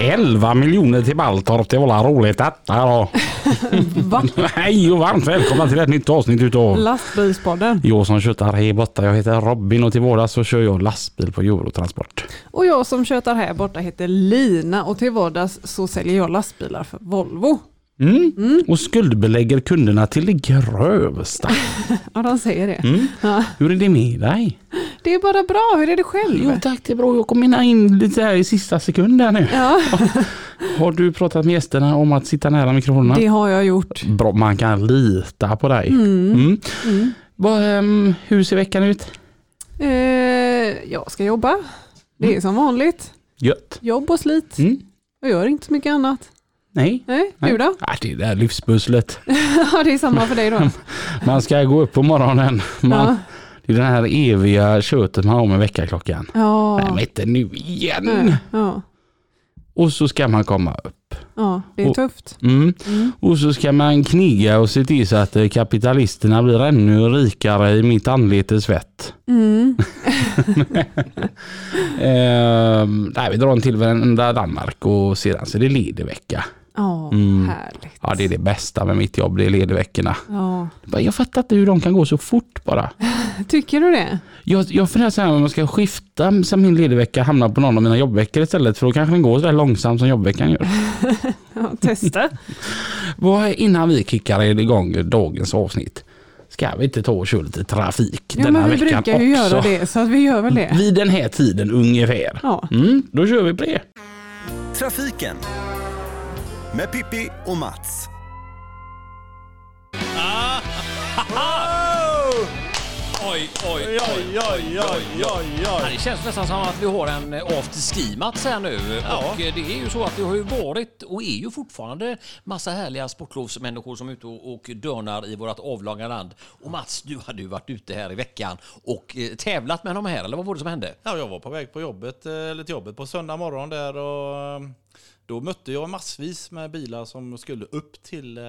Elva miljoner till Baltorp, det var roligt detta då. Va? Hej och varmt välkomna till ett nytt avsnitt utav Lastbilspodden. jag som tjötar här borta. Jag heter Robin och till vardags så kör jag lastbil på Eurotransport. Och jag som tjötar här borta heter Lina och till vardags så säljer jag lastbilar för Volvo. Mm. Och skuldbelägger kunderna till det grövsta. Ja, de säger det. Mm. Ja, Hur är det med dig? det är bara bra, hur är det själv? Jo tack, det är bra. Jag kommer in lite här i sista sekund här nu. Ja, Har du pratat med gästerna om att sitta nära mikrofonerna? det har jag gjort. Bra, man kan lita på dig. Mm. Mm. Mm. Vad, ehm, hur ser veckan ut? Eh, jag ska jobba. Det är som vanligt. Gött. Jobb och slit. Mm. Jag gör inte så mycket annat. Nej. Nej, du då? Ja, det där livspusslet. Ja, det är samma för dig då. Man ska gå upp på morgonen. Man, Ja. Det är den här eviga köttet man har med väckarklockan. Nej men inte nu igen! Ja, ja, Och så ska man komma upp. ja, det är Och- tufft. Mm. Mm. Och så ska man kniga och se till så att eh, kapitalisterna blir ännu rikare i mitt anletes svett. Mm. Ehm, nej, vi drar en till varenda Danmark och sedan så är det ledig vecka. Ja, Mm. härligt. Ja det är det bästa med mitt jobb, det är ledigveckorna. Ja. Bara, Jag fattar inte hur de kan gå så fort bara. Tycker du det? Jag, jag funderar så här om jag ska skifta så min ledigvecka hamnar på någon av mina jobbveckor istället för då kanske den går så där långsamt som jobbveckan gör. Ja, testa. Mm. Vad, innan vi kickar igång dagens avsnitt ska vi inte ta och köra lite trafik Ja, denna men vi veckan brukar ju också. göra det, så att vi gör väl det. Vid den här tiden ungefär. Ja. Mm, då kör vi på det. Trafiken med Pippi och Mats. Oj, oj, oj, oj, oj, oj, Ja, det känns nästan som att vi har en eh, afterski-match här nu. Och eh, det är ju så att det har ju varit och är ju fortfarande massa härliga sportlovsmänniskor som är ute och, och dörnar i vårt avlånga land. Och Mats, du hade ju varit ute här i veckan och eh, tävlat med de här, eller vad var det som hände? Ja, jag var på väg på jobbet, eh, eller till jobbet på söndag morgon där och eh, då mötte jag massvis med bilar som skulle upp till, eh,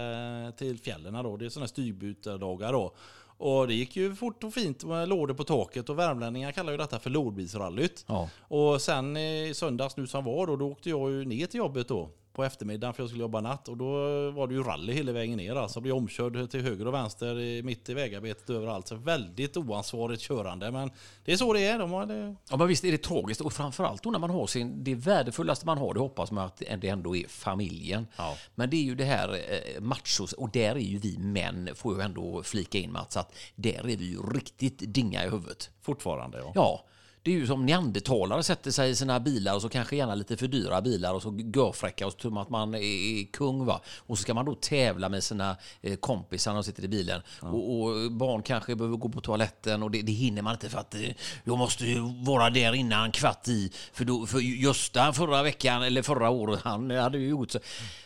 till fjällen här då. Det är sådana här stygbytardagar då. Och det gick ju fort och fint med lådor på taket och värmlänningar kallar ju detta för lådbilsrallyt. Ja. Och sen i söndags nu som var då, då åkte jag ju ner till jobbet då på eftermiddagen för jag skulle jobba natt och då var det ju rally hela vägen ner alltså. Blev omkörd till höger och vänster i- mitt i vägarbetet överallt. Så väldigt oansvarigt körande men det är så det är. De har det Ja, men visst är det tragiskt och framförallt då när man har sin, det värdefullaste man har, det hoppas man att det ändå är familjen. Ja. Men det är ju det här eh, machos, och där är ju vi män, får jag ändå flika in Mats, att där är vi ju riktigt dinga i huvudet. Fortfarande ja. Ja, det är ju som neandertalare sätter sig i sina bilar och så kanske gärna lite för dyra bilar och så görfräcka och så tror man att man är- är kung va. Och så ska man då tävla med sina eh, kompisar när de sitter i bilen. Och, och barn kanske behöver gå på toaletten och det, det hinner man inte för att eh, jag måste ju vara där innan kvart i. För, då, för Gösta förra veckan eller förra året, han hade ju gjort så.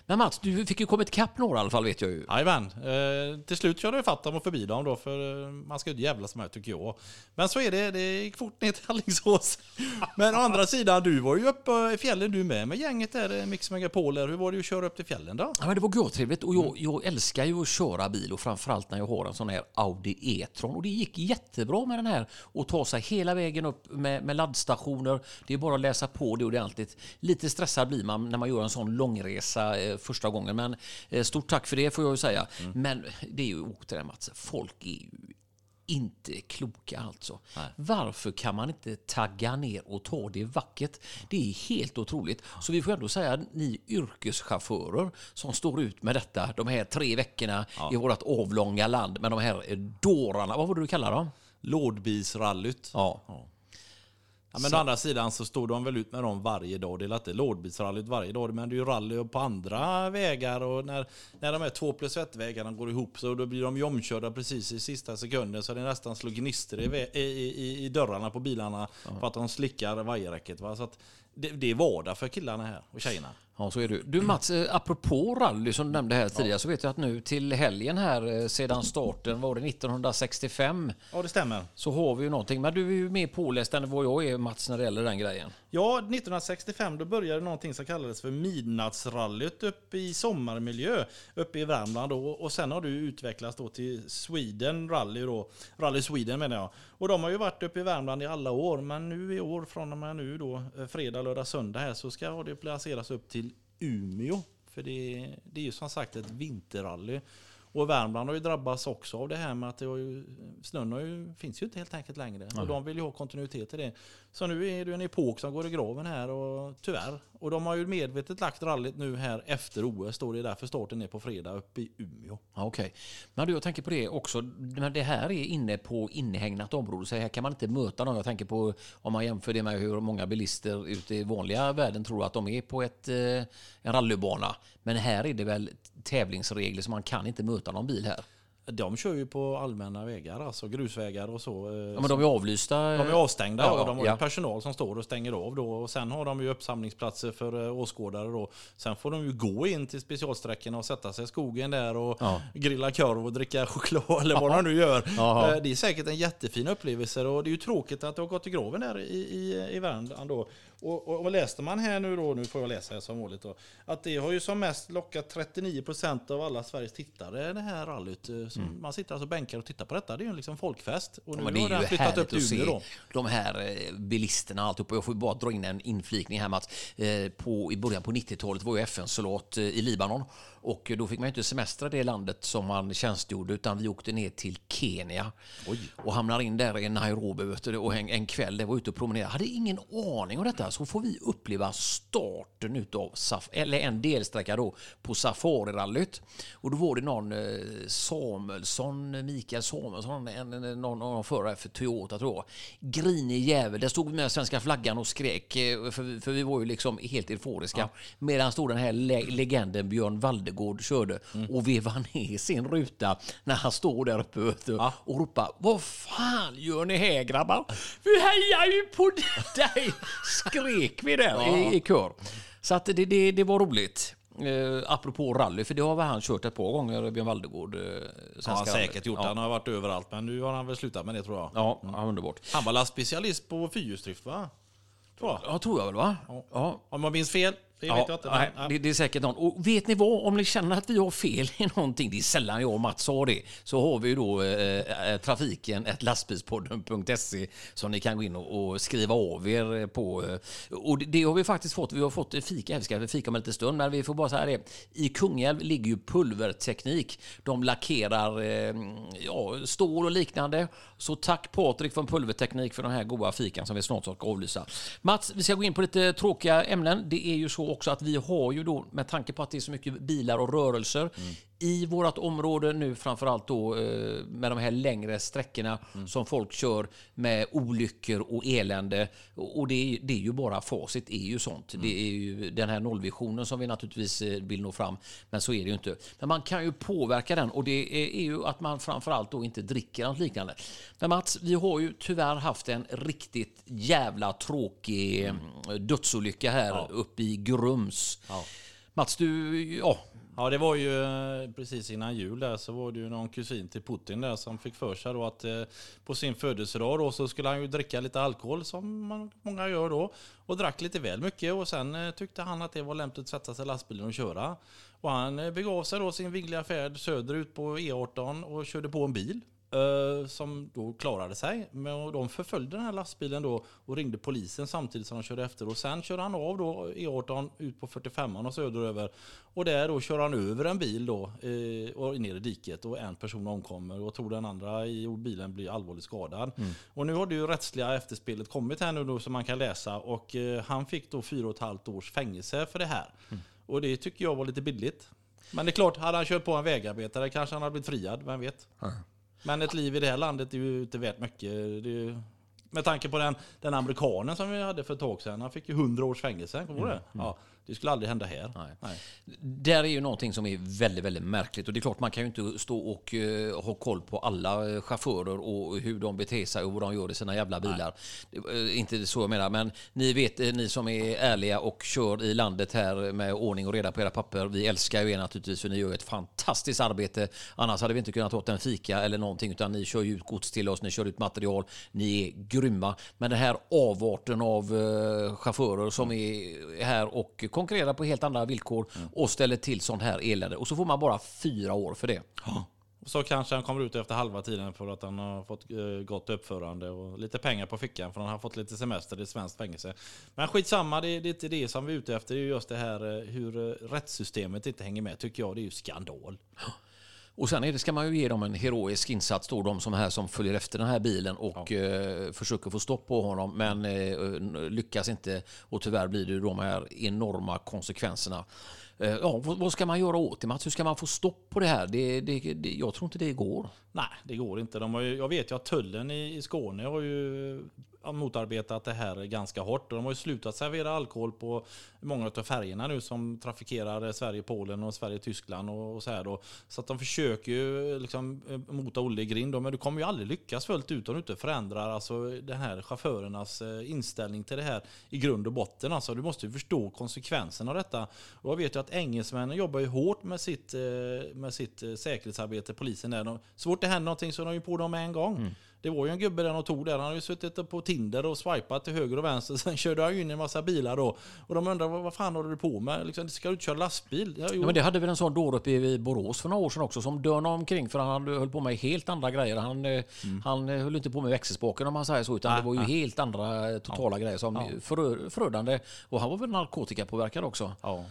Men Mats, du fick ju kommit ikapp några i alla fall vet jag ju. Jajamän. Eh, till slut körde jag ifatt dem och förbi dem då, för eh, man ska ju inte jävlas med tycker jag. Men så är det, det gick fort ner till Alingsås. Men å andra sidan, du var ju uppe i fjällen du med, med gänget där, eh, Mix Megapol där. Hur var det att köra upp till fjällen då? Ja, men det var görtrevligt och jag, jag älskar ju att köra bil och framförallt när jag har en sån här Audi E-tron och det gick jättebra med den här och ta sig hela vägen upp med, med laddstationer. Det är bara att läsa på det ordentligt. Lite stressad blir man när man gör en sån långresa eh, första gången men eh, stort tack för det får jag ju säga. Men det är ju återigen Mats, folk är ju inte kloka alltså. Varför kan man inte tagga ner och ta det vackert? Det är helt otroligt. Så vi får ändå säga ni yrkeschaufförer som står ut med detta de här tre veckorna i vårt avlånga land med de här eh, dårarna. Vad var det du kallade dem? Lådbilsrallyt. Ja. Ja, men å andra sidan så stod de väl ut med dem varje dag. Det är inte lådbilsrallyt varje dag, men det är ju rally på andra vägar. Och när, när de här två plus ett vägarna går ihop så då blir de ju omkörda precis i sista sekunden. Så det nästan slår gnistor i, vä- i, i, i dörrarna på bilarna för att de slickar vajerräcket. Va? Så att det, det är vardag för killarna här och tjejerna. Ja, så är det. ju. Du Mats, eh, apropå rally som du nämnde här tidigare så vet jag att nu till helgen här eh, sedan starten var det 1965 Ja, det stämmer. så har vi ju någonting. Men du är ju mer påläst än vad jag är Mats när det gäller den grejen. Ja, 1965 då började någonting som kallades för midnattsrallyt uppe i sommarmiljö uppe i Värmland då, och sen har det ju utvecklats då till Sweden Rally då, Rally Sweden menar jag. Och de har ju varit uppe i Värmland i alla år, men nu i år från och med nu då eh, fredag, lördag, söndag här så ska det placeras upp till Umeå. För det, det är ju som sagt ett vinterrally. Och Värmland har ju drabbats också av det här med att det har ju, snön har ju, finns ju inte helt enkelt längre. Och de vill ju ha kontinuitet i det. Så nu är det ju en epok som går i graven här och tyvärr. Och de har ju medvetet lagt rallyt nu här efter OS. Står det därför starten är på fredag uppe i Umeå. Ja, Okej, men du jag tänker på det också. Men det här är inne på inhägnat område så här kan man inte möta någon. Jag tänker på om man jämför det med hur många bilister ute i vanliga världen tror att de är på ett, eh, en rallybana. Men här är det väl tävlingsregler så man kan inte möta någon bil här. De kör ju på allmänna vägar, alltså grusvägar och så. eh, Ja, men de är avlysta. De är avstängda Ja, och de har ju ja. personal som står och stänger av då. Och sen har de ju uppsamlingsplatser för eh, åskådare då. Sen får de ju gå in till specialsträckorna och sätta sig i skogen där och Ja. grilla korv och dricka choklad eller vad de nu gör. Jaha. Eh, Det är säkert en jättefin upplevelse och det är ju tråkigt att det har gått i graven där i, i, i Värmland då. Och, och, och läste man här nu då, nu får jag läsa här som vanligt då, att det har ju som mest lockat 39% av alla Sveriges tittare det här rallyt. eh, som- Mm. Man sitter alltså bänkar och tittar på detta. Det är ju liksom folkfest. Och nu Ja, men det har den är ju flyttat upp härligt till att Umeå se då. de här eh, bilisterna och alltihopa. Jag får ju bara dra in en inflikning här Mats. Eh, På, I början på 90-talet var ju FN-soldat eh, i Libanon och då fick man ju inte semestra i det landet som man tjänstgjorde utan vi åkte ner till Kenya och hamnar in där i Nairobi vet du, och en, en kväll där var ute och promenerade. Hade ingen aning om detta så får vi uppleva starten utav saf- eller en delsträcka då på Safarirallyt och då var det någon eh, Samuelsson, Mikael Samuelsson, en, en, någon, någon förare för Toyota tror jag. Grinig jävel, där stod vi med svenska flaggan och skrek eh, för, för vi var ju liksom helt euforiska. Medan stod den här le- legenden Björn Valdegård körde Mm. och vevade ner sin ruta när han står där uppe vet du, och ropar Vad fan gör ni här grabbar? Vi hejar ju på dig! Skrek vi där i, i kör. Så att det, det, det var roligt. Eh, apropå rally, för det har väl han kört ett par gånger, Björn Valdegård. Eh, Ja, han Svenska har säkert rallyt. gjort. Ja. Han har varit överallt, men nu har han väl slutat med det tror jag. Ja, ja, underbart. Han var la specialist på fyrhjulsdrift va? Tror jag. Ja, tror jag väl va? ja. Om jag minns fel. Det vet jag inte. men- nej, ja. det, det är säkert någon. Och vet ni vad, om ni känner att vi har fel i någonting, det är sällan jag och Mats har det, så har vi ju då eh, eh, trafiken ett lastbilspodden.se som ni kan gå in och, och skriva av er på. Eh, Och det, det har vi faktiskt fått. Vi har fått fika, vi ska fika om en liten stund, men vi får bara säga det. I Kungälv ligger ju Pulverteknik. De lackerar eh, ja, stål och liknande. Så tack Patrik från Pulverteknik för den här goda fikan som vi snart ska avlysa. Mats, vi ska gå in på lite tråkiga ämnen. Det är ju så också att vi har ju då, med tanke på att det är så mycket bilar och rörelser i vårt område nu, framförallt då eh, med de här längre sträckorna som folk kör med olyckor och elände. Och och det är, det är ju bara facit, är ju sånt. Det är ju den här nollvisionen som vi naturligtvis eh, vill nå fram, men så är det ju inte. Men man kan ju påverka den och det är- är ju att man framförallt då inte dricker något liknande. Men Mats, vi har ju tyvärr haft en riktigt jävla tråkig eh, dödsolycka här uppe i Grums. Mats, du, ja, Ja, det var ju eh, precis innan jul där så var det ju någon kusin till Putin där som fick för sig då att eh, på sin födelsedag då så skulle han ju dricka lite alkohol som man, många gör då och drack lite väl mycket och sen eh, tyckte han att det var lämpligt att sätta sig i lastbilen och köra. Och han eh, begav sig då sin vingliga färd söderut på E18 och körde på en bil. eh, Som då klarade sig. Men och de förföljde den här lastbilen då och ringde polisen samtidigt som de körde efter. Och sen körde han av då E18 ut på 45 och söderöver. Och där då kör han över en bil då eh, och ner i diket och en person omkommer. Och jag tror den andra i bilen blir allvarligt skadad. Och nu har det ju rättsliga efterspelet kommit här nu då som man kan läsa. Och eh, han fick då fyra och ett halvt års fängelse för det här. Och det tycker jag var lite billigt. Men det är klart, hade han kört på en vägarbetare kanske han hade blivit friad, vem vet? Men ett liv i det här landet är ju inte värt mycket. Det är ju Med tanke på den, den amerikanen som vi hade för ett tag sedan. Han fick ju 100 års fängelse. Kommer du det? Ja, det skulle aldrig hända här. Nej. Där är ju någonting som är väldigt, väldigt märkligt. Och det är klart, man kan ju inte stå och eh, ha koll på alla eh, chaufförer och hur de beter sig och vad de gör i sina jävla bilar. Det, eh, inte så jag menar, men ni vet, eh, ni som är ärliga och kör i landet här med ordning och reda på era papper. Vi älskar ju er naturligtvis, för ni gör ett fantastiskt arbete. Annars hade vi inte kunnat ta en fika eller någonting, utan ni kör ju ut gods till oss, ni kör ut material, ni är grymma. Men den här avarten av eh, chaufförer som är här och konkurrerar på helt andra villkor och ställer till sånt här elände. Och så får man bara fyra år för det. Så kanske han kommer ut efter halva tiden för att han har fått eh, gott uppförande och lite pengar på fickan för han har fått lite semester i svenskt fängelse. Men skitsamma, det, det är inte det som vi är ute efter. Det är ju just det här eh, hur eh, rättssystemet inte hänger med tycker jag. Det är ju skandal. Och sen är det, ska man ju ge dem en heroisk insats, då, de som här som följer efter den här bilen och eh, försöker få stopp på honom, men eh, lyckas inte. Och tyvärr blir det ju de här enorma konsekvenserna. Eh, ja, vad, vad ska man göra åt det, Mats? Hur ska man få stopp på det här? Det, det, det, jag tror inte det går. Nej, det går inte. De har ju, jag vet ju att tullen i, i Skåne har ju motarbetat det här ganska hårt. Och de har ju slutat servera alkohol på många av färjorna nu som trafikerar Sverige-Polen och Sverige-Tyskland och, och så här då. Så att de försöker ju liksom eh, mota Olle i grind. då, Men du kommer ju aldrig lyckas fullt ut om du inte förändrar alltså, den här chaufförernas eh, inställning till det här i grund och botten. Alltså, du måste ju förstå konsekvenserna av detta. Och jag vet ju att engelsmännen jobbar ju hårt med sitt, eh, med sitt eh, säkerhetsarbete, polisen där. De, så fort det händer någonting så är de ju på dem med en gång. Mm. Det var ju en gubbe där de tog där. Han hade ju suttit på Tinder och swipat till höger och vänster. Sen körde han ju in i en massa bilar då. Och de undrar vad vad fan håller du på med? Liksom, ska du inte köra lastbil? Ja, jo. Ja, men det hade väl en sån dåre uppe i Borås för några år sedan också som dönade omkring för han höll på med helt andra grejer. Han, eh, han eh, höll inte på med växelspaken om man säger så utan det var ju helt andra eh, totala grejer som förö- förödande. Och han var väl narkotikapåverkad också. Ja.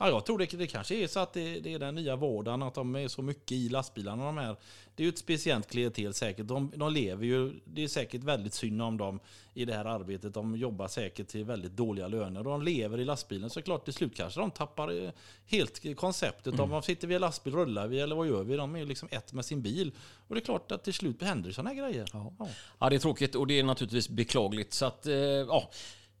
Ja, jag tror det, det kanske är så att det, det är den nya vardagen, att de är så mycket i lastbilarna. De här. Det är ju ett speciellt klientel säkert. De, de lever ju, det är säkert väldigt synd om dem i det här arbetet. De jobbar säkert till väldigt dåliga löner. De lever i lastbilen, så klart till slut kanske de tappar eh, helt konceptet. Mm. Om man sitter vi i lastbil, rullar vi eller vad gör vi? De är ju liksom ett med sin bil. Och det är klart att till slut händer sådana här grejer. Ja. Ja, det är tråkigt och det är naturligtvis beklagligt. Så att, eh, ja.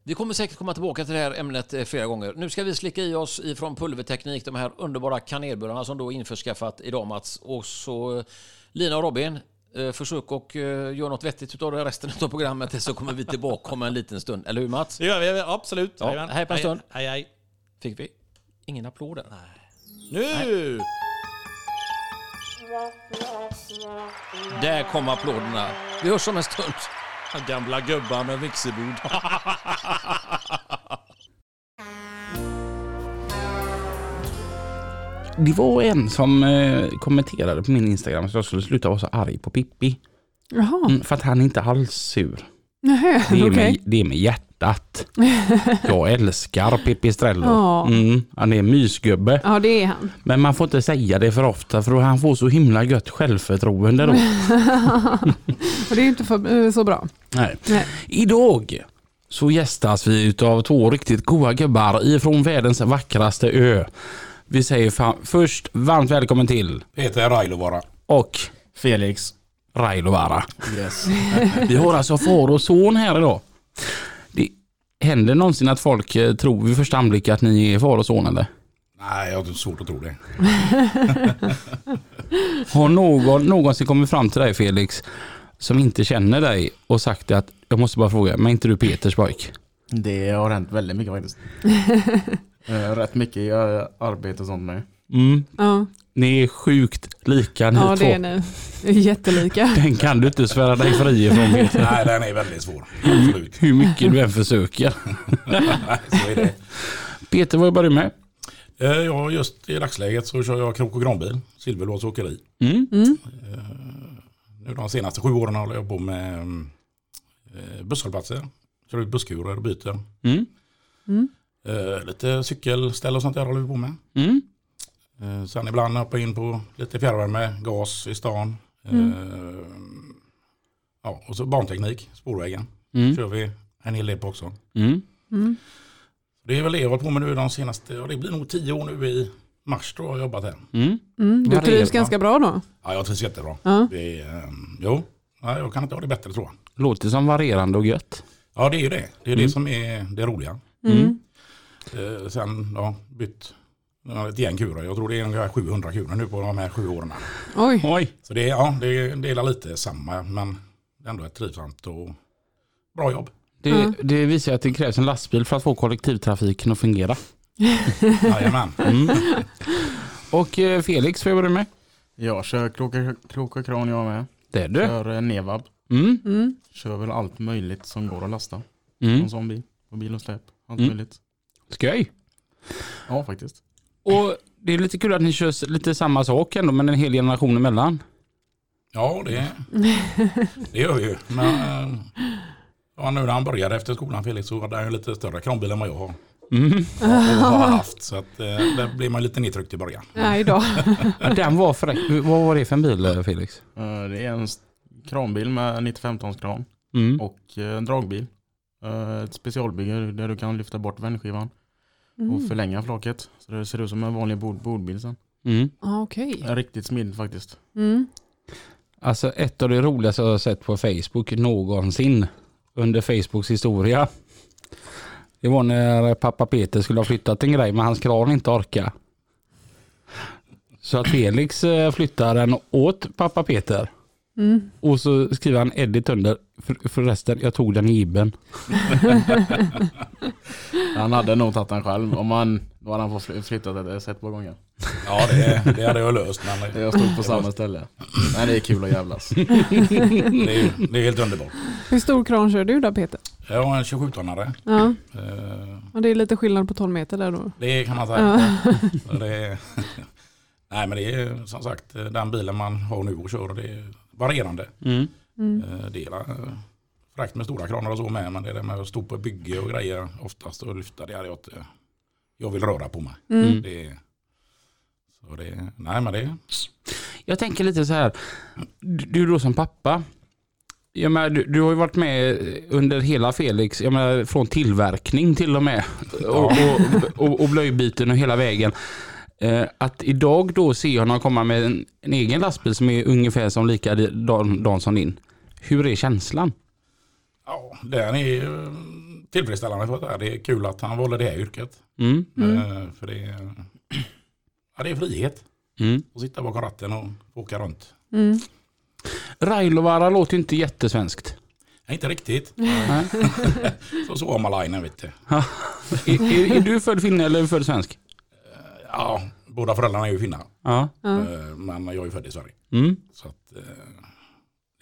Vi kommer säkert komma tillbaka till det här ämnet eh, flera gånger. Nu ska vi slicka i oss ifrån Pulverteknik de här underbara kanelbullarna som då är införskaffat idag Mats. Och så eh, Lina och Robin, eh, försök och eh, göra något vettigt utav det resten av programmet så kommer vi tillbaka om en liten stund. Eller hur Mats? Det gör vi, absolut. Ja, Jajamän. hej på en stund. Hej, hej. Fick vi ingen applåder? Nu! Där kom applåderna. Vi hörs om en stund. Gamla gubbar med mixerbord. Det var en som eh, kommenterade på min Instagram att jag skulle sluta vara så arg på Pippi. Jaha, Mm, för att han är inte alls sur. nähä, Det är, okej. med, det är med hjärtat. Jag älskar Pippi Strello. Ja. Mm, han är en mysgubbe. Ja, det är han. Men man får inte säga det för ofta för då han får så himla gött självförtroende då. Och det är ju inte för, eh, så bra. Nej. Nej. Idag så gästas vi utav två riktigt goa gubbar ifrån världens vackraste ö. Vi säger fa- först varmt välkommen till Heter Railovara. och Felix. Railovara. Yes. Vi har alltså far och son här idag. Det händer någonsin att folk eh, tror vid första anblick att ni är far och son eller? Nej, jag har svårt att tro det. Har någon någonsin kommit fram till dig Felix som inte känner dig och sagt att jag måste bara fråga, men är inte du Peters pojk? Det har hänt väldigt mycket faktiskt. Eh, Rätt mycket i eh, arbete och sånt med. Mm. Ja, Ni är sjukt lika ni ja två. det är ni. Jättelika. Den kan du inte svära dig fri ifrån Peter. Nej, den är väldigt svår. Absolut. Hur mycket du än försöker. Så är det. Peter, vad jobbar du med? Eh, Ja, just i dagsläget så kör jag krok och granbil. Silverlås och åkeri. Mm. Eh, Nu de senaste sju åren håller jag på med eh, busshållplatser. Kör ut busskurer och byter. Mm. Eh, Lite cykelställ och sånt där håller vi på med. Mm. Eh, Sen ibland hoppa in på lite fjärrvärme, gas i stan. Mm. Eh, Ja, och så banteknik, spårvägen. Mm. kör vi en hel del på också. Mm. Det är väl det jag har hållit på med nu de senaste, ja det blir nog tio år nu i mars då har jag jobbat här. Mm. Mm, du Varierar. trivs ganska bra då? Ja jag trivs jättebra. ehm, Ja. Det är, eh, jo, nej, jag kan inte ha det bättre tror jag. Låter som varierande och gött. Ja, det är ju det. Det är Mm. det som är det roliga. Eh, sen, ja, bytt ja, ett gäng kurer. Jag tror det är ungefär 700 kurer nu på de här sju åren. Oj, Oj. Så det är, ja, det är det är lite samma, men ändå ett trivsamt och bra jobb. Det, det visar ju att det krävs en lastbil för att få kollektivtrafiken att fungera. Mm. Jajamän. Och eh, Felix, får jag börja med? Jag kör krok, krok och kran jag med. Det är du. Kör eh, Nevab. Mm. Kör väl allt möjligt som går att lasta. Mm. En sån bil. Och bil och släp. Allt Mm. möjligt. Skoj. Ja faktiskt. Och det är lite kul att ni kör s- lite samma sak ändå, men en hel generation emellan. Ja, det, det gör vi ju. Men, eh, ja, nu när han började efter skolan Felix så hade han ju lite större kranbil än vad jag har. Mm. Och har haft. Så att, eh, där blir man ju lite nedtryckt i början. nej då. Ja, den var fräck. Vad var det för en bil eh, Felix? Eh, Det är en s- kranbil med 95 tons kran. Mm. och eh, en dragbil. Eh, Ett specialbygge där du kan lyfta bort vändskivan och Mm. förlänga flaket. Så det ser ut som en vanlig bord, bordbil sen. Mm. Ah, Okej. Eh, Riktigt smidigt faktiskt. Mm. Alltså ett av det roligaste jag har sett på Facebook någonsin under Facebooks historia. Det var när pappa Peter skulle ha flyttat en grej men hans kran inte orkade. Så att Felix eh, flyttar den åt pappa Peter. Mm. Och så skriver han Edit under. För, förresten, jag tog den i ibben. Han hade nog tagit den själv. Om han, då hade han fått fly- flyttat det ett ett par gånger. Ja, det, det hade jag löst. Men det, Jag stod på samma ställe. Men det är kul att jävlas. det, är, ju- det är helt underbart. Hur stor kran kör du då Peter? Jag har en 27-tonnare. Ja. Eh, Och det är lite skillnad på 12 meter där då. Det kan man säga. Så det, nej men det är som sagt eh, den bilen man har nu och kör. Det är varierande. Mm. Eh, Det är eh, fräckt med stora kranar och så med. Men det där med att stå på bygge och grejer oftast och lyfta. Det hade jag inte. eh, Jag vill röra på mig. Mm. Det, är- så det, nej men det. Jag tänker lite så här. Du du då som pappa. Jag menar, du, du har ju varit med under hela Felix, jag menar, från tillverkning till och med. Och, och, och, och blöjbyten och hela vägen. Eh, att idag då se honom komma med en, en egen lastbil som är ungefär som likadan som din. Hur är känslan? Ja, den är ju mm, tillfredsställande för att det är. Det är kul att han valde det här yrket. Mm, Eh, För det är, ja, det är frihet. mm. Att sitta bakom ratten och åka runt. Mm. Railovara låter ju inte jättesvenskt. Nej, inte riktigt. Nej. Så Suomalainen vet du. är, är, är du född finne eller är du född svensk? Ja, båda föräldrarna är ju finnar. Ja. Ja. Eh, Men jag är ju född i Sverige. Mm. Så att, eh,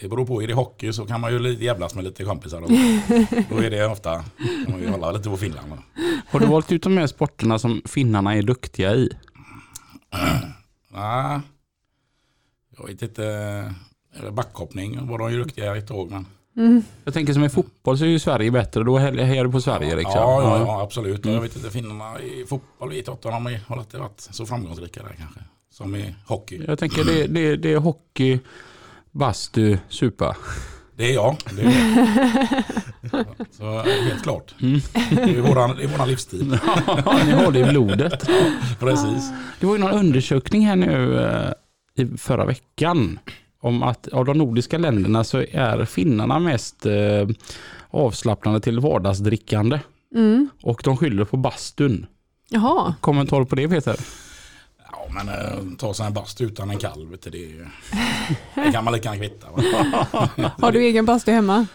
det beror på. Är det hockey så kan man ju lite jävlas med lite kompisar. Och då är det ofta, kan man ju hålla lite på Finland. va. Har du valt ut de här sporterna som finnarna är duktiga i? Nej, jag vet inte. Eller backhoppning var de ju duktiga i ett tag. Men, Jag tänker som i fotboll så är ju Sverige bättre. Då he- hejar du på Sverige liksom. ja, ja, Mm. ja, absolut. Och Jag vet inte, finnarna i fotboll vet jag inte. om De har inte varit så framgångsrika där kanske. Som i hockey. Jag tänker det, det, det är hockey, bastu, supa. Det är jag. Det är jag. Så helt klart. Det är våran, det är våran livsstil. Ni har det i blodet. Precis. Det var ju någon undersökning här nu eh, i förra veckan om att av de nordiska länderna så är finnarna mest eh, avslappnade till vardagsdrickande. Mm. Och de skyller på bastun. Jaha, Kommentar på det Peter? Ja men eh, ta sig en bastu utan en kalv. vet du, Det, är ju, det kan man lika gärna kvitta. Va? har du egen bastu hemma?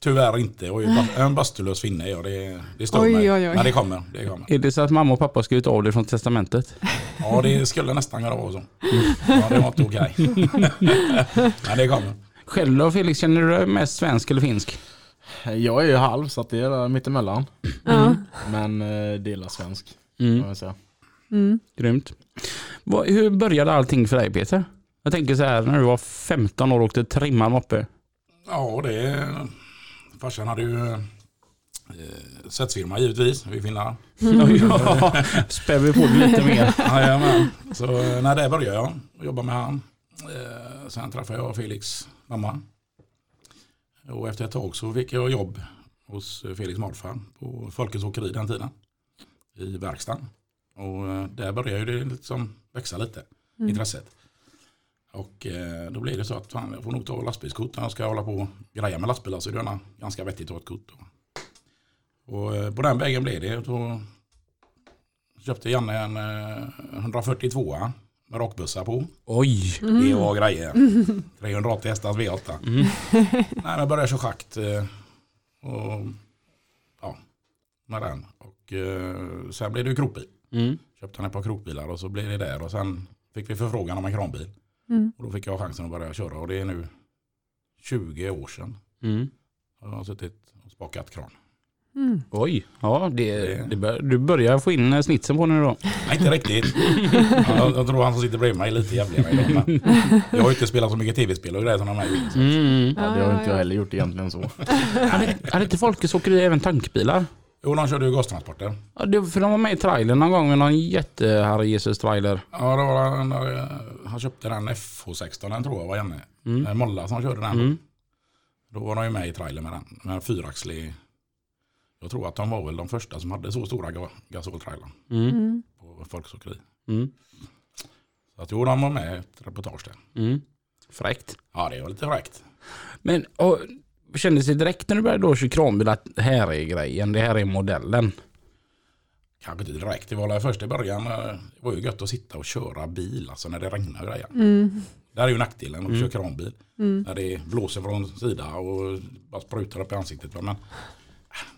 Tyvärr inte. Jag är ju bas- en bastulös finne är jag. Det, det stör Oj, mig. oj, oj. Men det kommer. Det kommer. Är det så att mamma och pappa har skrivit av det från testamentet? Ja det skulle nästan kunna vara så. Ja, det var inte okej. Men det kommer. Själv då Felix, känner du dig mest svensk eller finsk? Jag är ju halv så att det är där mittemellan. Ja. Men eh, det är la svensk. Mm. kan jag säga. Mm. Grymt. Vad- Hur började allting för dig Peter? Jag tänker så här, när du var 15 år och åkte trimmad moppe. Ja det... Farsan hade ju eh, svetsfirma givetvis. Eh, Vi finnar. Ja, Spär vi på det lite mer. Jajamän. Så eh, när det började jag och jobba med han. Eh, sen träffade jag Felix mamma. Och efter ett tag så fick jag jobb hos eh, Felix morfar på Folkets Åkeri den tiden. I verkstaden. Och eh, där började ju det liksom växa lite, intresset. Och eh, då blir det så att fan, jag får nog ta lastbilskort när jag ska hålla på och greja med lastbilar så är det gärna ganska vettigt att ha ett kort. Då. Och eh, på den vägen blev det. Då köpte Janne en eh, 142 med rakbössa på. Oj! Det var grejer. 380 hästars V8. Nej, men jag började köra schakt. eh, Och, ja, med den. Och, eh, sen blev det ju krokbil. Mm. Köpte han ett par krokbilar och så blev det där. Och sen fick vi förfrågan om en kranbil. Mm. Och då fick jag chansen att börja köra. Och det är nu 20 år sedan. Mm. Jag har suttit och spakat kran. Mm. Oj, ja det, det bör, du börjar få in eh, snitsen på nu då. Nej, inte riktigt. Ja, jag, jag tror han som sitter bredvid mig är lite jävligare idag. men Jag har ju inte spelat så mycket tv-spel och grejer som han har gjort. Mm. Ja, det har inte jag heller gjort egentligen så. Hade, hade inte Folkets Åkeri även tankbilar? Jo, de körde ju gastransporter. Ja, det, för de var med i trailern någon gång med någon jätte Jesus trailer. Ja, det var han, eh, han köpte den FH16 den tror jag var Janne. Eh, Molla som körde den. Då var de ju med i trailern med den. Med en fyraxlig. Jag tror att de var väl de första som hade så stora ga- gasoltrailern Mm. på Folksåkeri. Mm. Så att jo, de var med i ett reportage där. Mm. Fräckt. Ja, det var lite fräckt. Men och, kändes det direkt när du började då köra kranbil att här är grejen, det här är modellen? Kanske inte direkt, det var väl först i början. eh, Det var ju gött att sitta och köra bil alltså när det regnar och grejer. Mm. Där är ju nackdelen att köra kranbil. Mm. När det blåser från sida och bara sprutar upp i ansiktet. va. Men äh,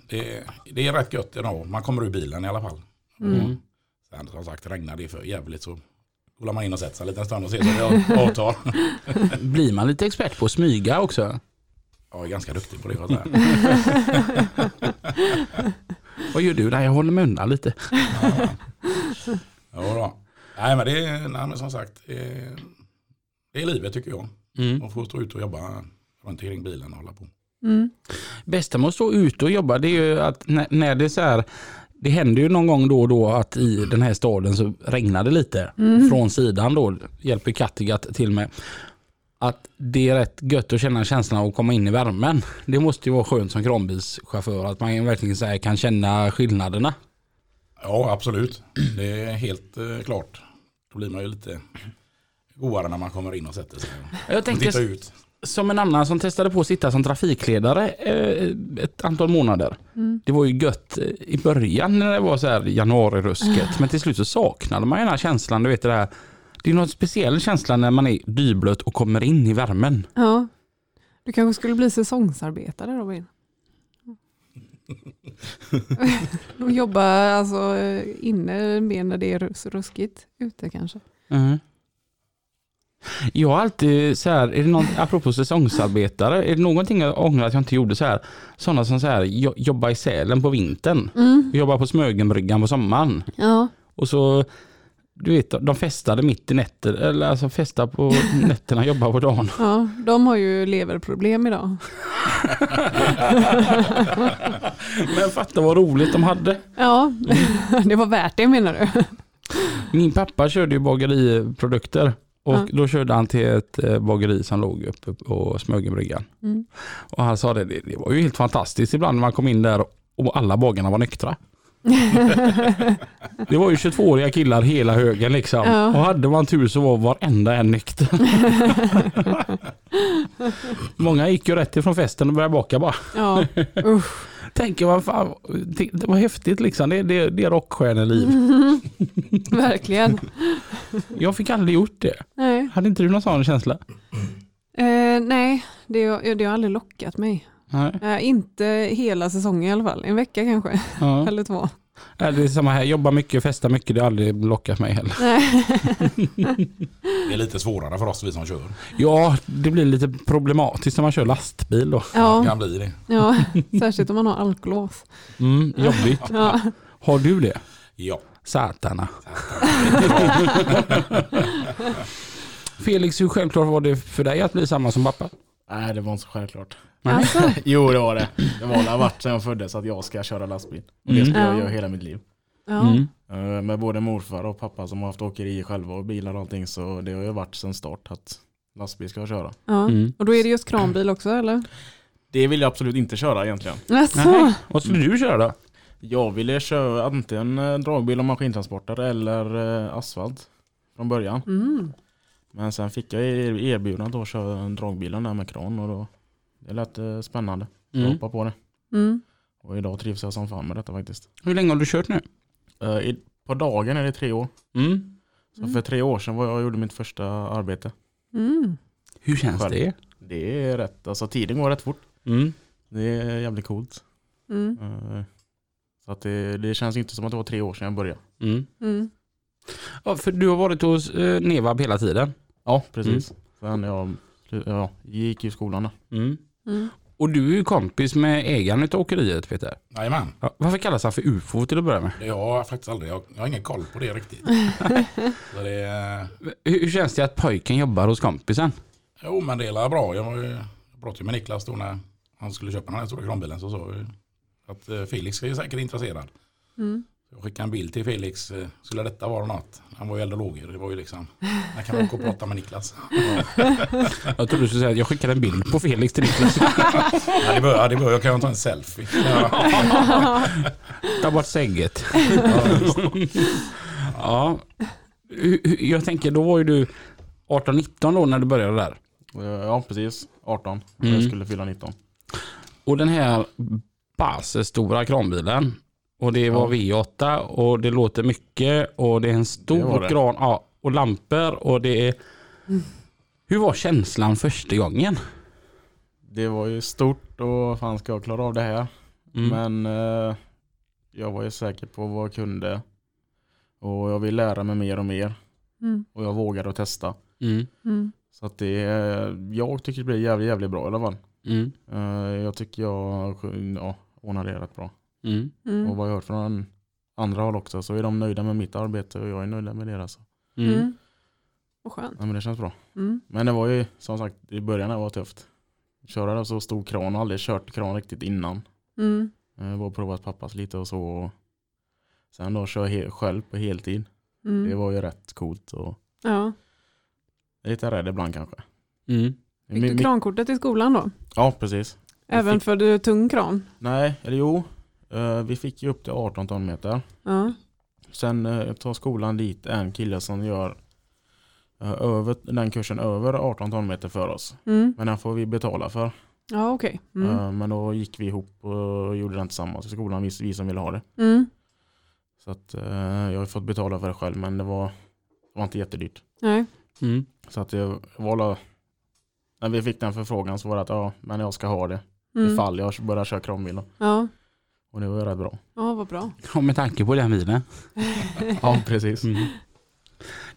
det, det är rätt gött ändå. Man kommer ur bilen i alla fall. Mm. Sen som sagt regnar det för jävligt så kollar man in och sätter sig en liten stund och ser så det avtar. Blir man lite expert på att smyga också? Jag är ganska duktig på det. får jag säga. Vad gör du? Nej, jag håller mig undan lite. Ja, då. Nej men det är nej, men som sagt. eh, Det är livet tycker jag. Mm. Man får stå ute och jobba runt omkring bilen och hålla på. Mm. Bästa med att stå ute och jobba det är ju att när, när det är så här det händer ju någon gång då och då att i den här staden så regnar det lite. Från sidan då, hjälper Kattegatt till med. Att det är rätt gött att känna känslan av att komma in i värmen. Det måste ju vara skönt som kranbilschaufför att man verkligen så här kan känna skillnaderna. Ja, absolut. Det är helt eh, klart. Då blir man ju lite godare när man kommer in och sätter sig. Jag Och tittar tänker ut. som en annan som testade på att sitta som trafikledare eh, ett antal månader. Det var ju gött eh, i början när det var så här januarirusket. Men till slut så saknade man ju den här känslan. Du vet det här. Det är någon speciell känsla när man är dyblöt och kommer in i värmen. Ja. Du kanske skulle bli säsongsarbetare Robin? De jobbar alltså eh, inne mer när det är rus- ruskigt ute kanske. Jag har alltid så här, är det någon, apropå säsongsarbetare, är det någonting jag ångrar att jag inte gjorde så här? Sådana som så här, jo- jobbar i Sälen på vintern, Mm. jobbar på Smögenbryggan på sommaren. Ja. Och så, du vet, de festade mitt i nätter, eller alltså festade på nätterna, jobbade på dagen. ja, de har ju leverproblem idag. Men fatta vad roligt de hade. Ja, det var värt det menar du? Min pappa körde ju bageriprodukter och Ja. då körde han till ett eh, bageri som låg uppe på Smögenbryggan. Mm. Och han sa det, det, det var ju helt fantastiskt ibland när man kom in där och alla bagarna var nyktra. Det var ju 22-åriga killar hela högen liksom. Ja. Och hade man tur så var varenda en nykter. Många gick ju rätt ifrån festen och började baka bara. Ja, usch. Tänker vad fan, det, det var häftigt liksom. Det, det, det är rockstjärneliv. Verkligen. Jag fick aldrig gjort det. Nej, Hade inte du någon sån känsla? eh, nej det, det har aldrig lockat mig. Nej. Eh, inte hela säsongen i alla fall. En vecka kanske, Ja. eller två. Nej, Det är samma här, jobba mycket, festa mycket, det har aldrig lockat mig heller. Nej. Det är lite svårare för oss vi som kör. Ja, det blir lite problematiskt när man kör lastbil då. Det Ja, kan bli det. ja, särskilt om man har alkolås. Mm, jobbigt. Ja. Har du det? Ja. Satana. Felix, hur självklart var det för dig att bli samma som pappa? Nej, det var inte så självklart. Alltså, Jo, det var det. Det var det har varit sedan jag föddes att jag ska köra lastbil. Och det ska jag göra hela mitt liv. ja. Mm. Eh, Med både morfar och pappa som har haft åkeri själva och bilar och allting så det har ju varit sedan start att lastbil ska jag köra. Ja. Mm. Och då är det just kranbil också eller? Det vill jag absolut inte köra egentligen. Alltså, Nej. Vad skulle du köra då? Jag ville köra antingen eh, dragbil och maskintransporter eller eh, asfalt från början. mm. Men sen fick jag er- erbjudandet att köra en dragbilen där med kran och då, det lät eh, spännande. Jag Mm. hoppade på det. Mm. Och idag trivs jag som fan med detta faktiskt. Hur länge har du kört nu? Eh, i, på dagen är det tre år. Mm. Så för tre år sedan var jag och gjorde mitt första arbete. Mm. Hur känns Själv. det? Det är rätt, alltså tiden går rätt fort. Mm. Det är jävligt coolt. Mm. Eh, Så att det, det känns inte som att det var tre år sedan jag började. Mm. Mm. Ja, för du har varit hos eh, Nevab hela tiden. Ja, precis. Sen jag, ja, gick ju skolan då. Mm. Mm. Och du är ju kompis med ägaren utav åkeriet Peter. Jajamän. Ja, varför kallas han för UFO till att börja med? Det har jag faktiskt aldrig. Jag, jag har ingen koll på det riktigt. Så det, eh, Hur, hur känns det att pojken jobbar hos kompisen? jo men det är bra. Jag, var ju, jag pratade ju med Niklas då när han skulle köpa den här stora kranbilen. Så sa jag ju att eh, Felix är säkert intresserad. Mm. Jag skickade en bild till Felix. eh, Skulle detta vara något? Han var ju eld och lågor. Det var ju liksom. Han kan väl gå och prata med Niklas. Jag trodde du skulle säga att jag skickade en bild på Felix till Niklas. Ja, det bör, ja, det bör. Jag kan ju ta en selfie. Ja. Ta bort sänget. ja. Hur- hur- Jag tänker, då var ju du 18-19 då när du började där. Eh, Ja, precis. 18. Mm. Jag skulle fylla 19. Och den här stora kranbilen. Och det var V8 och det låter mycket och det är en Det var stor det. kran ja, och lampor och det är... Hur var känslan första gången? Det var ju stort och fan ska jag klara av det här? Men eh, jag var ju säker på vad jag kunde. Och jag vill lära mig mer och mer. Mm. Och jag vågade att testa. Mm. Mm. Så att det, eh, jag tycker det blir jävligt, jävligt bra i alla fall. Mm. Eh, jag tycker jag ja, ordnade det rätt bra. Mm. Och vad jag hört från andra håll också så är de nöjda med mitt arbete och jag är nöjd med deras. Mm. Mm. Vad skönt. Ja, men det känns bra. Mm. Men det var ju som sagt i början det var tufft. Köra det så stor kran, aldrig kört kran riktigt innan. Mm. Eh, Bara provat pappas lite och så. Och sen då köra he- själv på heltid. Mm. Det var ju rätt coolt och ja. jag är lite rädd ibland kanske. Mm. Fick du Mi- mi- krankortet i skolan då? Ja, precis. Även fick- för du är tung kran? Nej, eller jo. Eh, Vi fick ju upp till 18 ton meter. Ja. Sen eh, tar skolan dit en kille som gör eh, över, den kursen över 18 ton meter för oss. Mm. Men den får vi betala för. Ja, okej. Mm. Eh, Men då gick vi ihop och gjorde den tillsammans i skolan, vi, vi som ville ha det. Mm. Så att, eh, jag har fått betala för det själv men det var, det var inte jättedyrt. Nej. Mm. Så att jag valde, när vi fick den förfrågan så var det att ja, men jag ska ha det Mm. ifall jag börjar köra kranbil. då. Ja. Och det var ju rätt bra. ja, vad bra. Ja, med tanke på den bilen. Ja precis. Mm.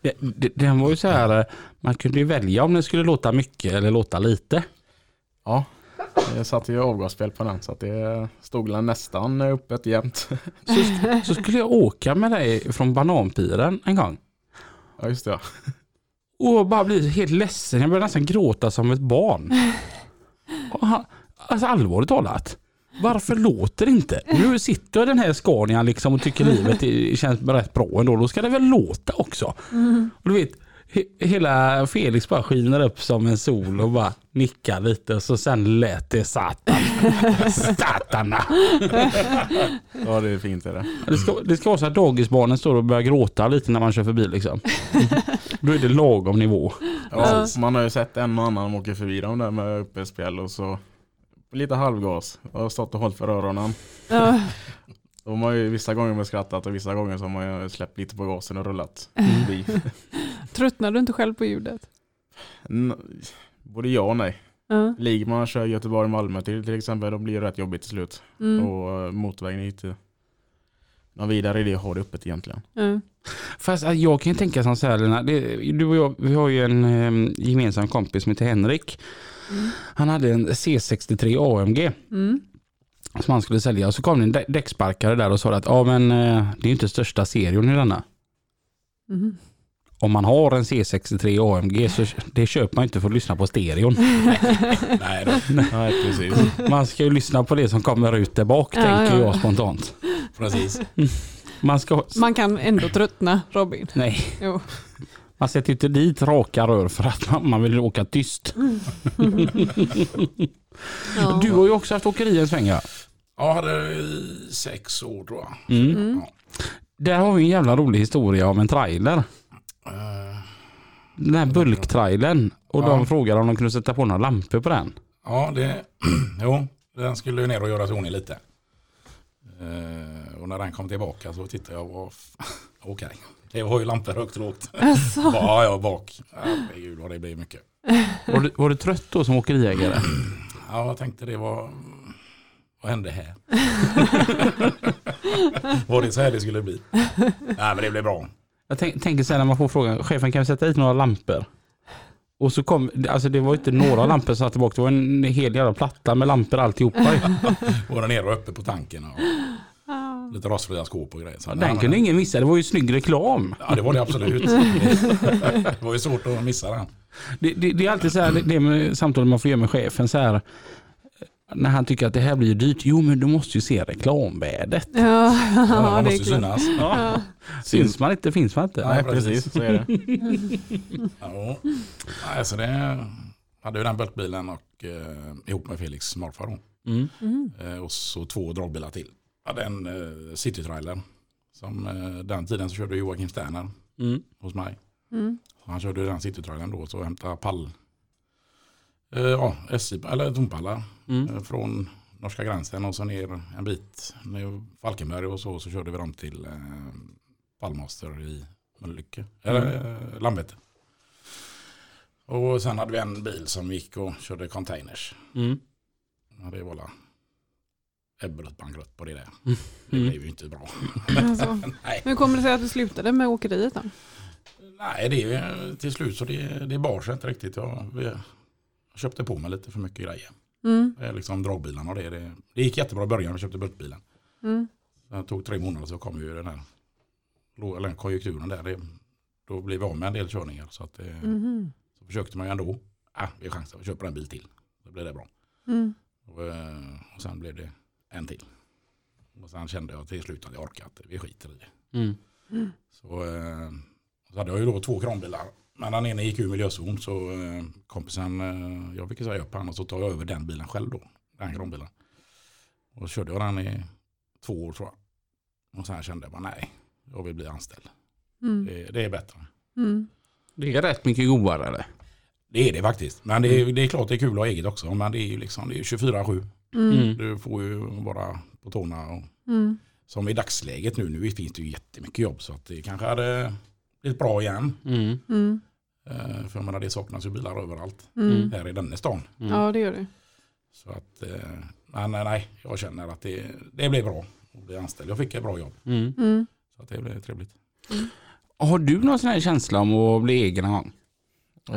Det- det- Den var ju så här, eh, man kunde ju välja om den skulle låta mycket eller låta lite. Ja, jag satte ju avgasspel på den så att det stod väl nästan öppet jämt. Så skulle jag åka med dig från Bananpiren en gång. Ja just det ja. Och bara bli helt ledsen, jag började nästan gråta som ett barn. Och han- Alltså allvarligt talat. Varför låter det inte? Nu sitter jag i den här Scanian liksom och tycker livet är- känns rätt bra ändå. Då ska det väl låta också. Och du vet, he- hela Felix bara skiner upp som en sol och bara nickar lite så sen lät det satan. Satana. Ja det är fint är det. Det ska, det ska vara så att dagisbarnen står och börjar gråta lite när man kör förbi liksom. Då är det lagom nivå. Ja, man har ju sett en och annan åka förbi dem där med öppet spjäll och så lite halvgas. Jag har stått och hållit för öronen. Ja. De har ju vissa gånger man skrattat och vissa gånger så har man ju släppt lite på gasen och rullat förbi. Tröttnar du inte själv på ljudet? N- Både ja och nej. Ja. Ligman kör Göteborg-Malmö till, till exempel, då blir det rätt jobbigt till slut. Mm. Och eh, motorvägen hit till någon vidare idé har det öppet egentligen. Ja. Fast att jag kan ju tänka som så här Lina, det, du och jag, vi har ju en eh, gemensam kompis som heter Henrik. Han hade en C63 AMG Mm. som han skulle sälja och så kom det en dä- däcksparkare där och sa att ja men eh, det är ju inte största serien i denna. Mm. Om man har en C63 AMG så det köper man ju inte för att lyssna på stereon. Nej, då. Nej precis. Man ska ju lyssna på det som kommer ut där bak Ja, tänker ja. jag spontant. precis. Man ska... Man kan ändå tröttna, Robin. Nej, Jo. man sätter ju inte dit raka rör för att man, man vill åka tyst. Ja. Du har ju också haft åkeri en svänga. Ja, Jag hade eh, sex år tror jag. Där har vi en jävla rolig historia om en trailer. Eh, den här bulktrailern och Ja. de frågade om de kunde sätta på några lampor på den. Ja, det, jo, den skulle ju ner och göras i ordning lite. Eh, och när den kom tillbaka så tittade jag och okej, det var ju lampor högt och lågt. Alltså, Ja, ja, bak. Herregud vad det blev mycket. Var du, var du trött då som åkeriägare? Ja, jag tänkte det var, vad hände här? var det så här det skulle bli? Nej, men det blev bra. Jag tänk, tänker så här när man får frågan, chefen kan vi sätta hit några lampor? Och så kom, alltså det var ju inte några lampor som satt tillbaka, det var en hel jävla platta med lampor alltihopa. ju. Både nere och uppe på tanken. Och lite rostfria skåp och grejer. Så, nej, Den men- kunde ingen missa, det var ju snygg reklam. Ja, det var det absolut. det var ju svårt att missa den. Det, det, det är alltid så här, det, det med samtal man får göra med chefen så här, när han tycker att det här blir ju dyrt, jo men du måste ju se reklamvärdet. ja, Ja, ja, man det är måste ju klart. synas. Ja. Syns man inte finns man inte. Nej, precis. Så är det. Ja. Nej, så det hade ju den bulkbilen och eh, ihop med Felix morfar då. Mm. Eh, och så två dragbilar till. Jag hade en eh, citytrailer. Som eh, den tiden så körde Joakim Sterner Mm. hos mig. Mm. Och Han körde den citytrailern då så hämtade pall. Eh, ja, SJ, eller tompallar Mm. eh, från norska gränsen och så ner en bit ner Falkenberg och så, så körde vi dem till eh, Palmaster i Mölnlycke, eller eh, Landvetter. Och sen hade vi en bil som gick och körde containers. Mm. Ja, det var la Ebberöt bankrutt på det där. Mm. Det blev ju inte bra. Alltså. Nej, Hur kommer det sig att du slutade med åkeriet då? Nej det är ju- till slut så det, det bar sig inte riktigt. Jag, jag köpte på mig lite för mycket grejer. Mm, Det är liksom dragbilarna och det, det. Det gick jättebra i början, vi köpte bulkbilen. mm, Det tog tre månader så kom ju den här lå- eller den konjunkturen där. Det, då blev vi av med en del körningar. Så, att det, mhm, så försökte man ju ändå. Ah, vi chansar, vi köper en bil till. Då blir det bra. mm. Och, eh, och sen blev det en till. Och sen kände jag till slut att jag orkar inte. Vi skiter i det. Mm. Så, eh, så hade jag ju då två kranbilar. Men den ena gick ur miljözon så eh, kompisen, eh, jag fick ju säga upp han och så tar jag över den bilen själv då. Den kranbilen. Och så körde jag den i två år tror jag. Och sen kände jag bara nej, jag vill bli anställd. Mm, Det, det är bättre. mm. Det är rätt mycket godare. Eller? Det är det faktiskt. Men det är, det är klart det är kul att ha eget också. Men det är ju liksom, det är ju 24-7. Mm, Du får ju vara på tårna. Och, mm, som i dagsläget nu, nu finns det ju jättemycket jobb så att det kanske eh, hade blivit bra igen. Mm. mm, Eh, För jag menar det saknas ju bilar överallt mm. här i denna stan. Ja, det gör det. Så att, eh, nej, nej, nej, jag känner att det, det blev bra att bli anställd. Jag fick ett bra jobb, Mm. Mm. så att det blev trevligt. Har du någon sån här känsla om att bli egen någon gång?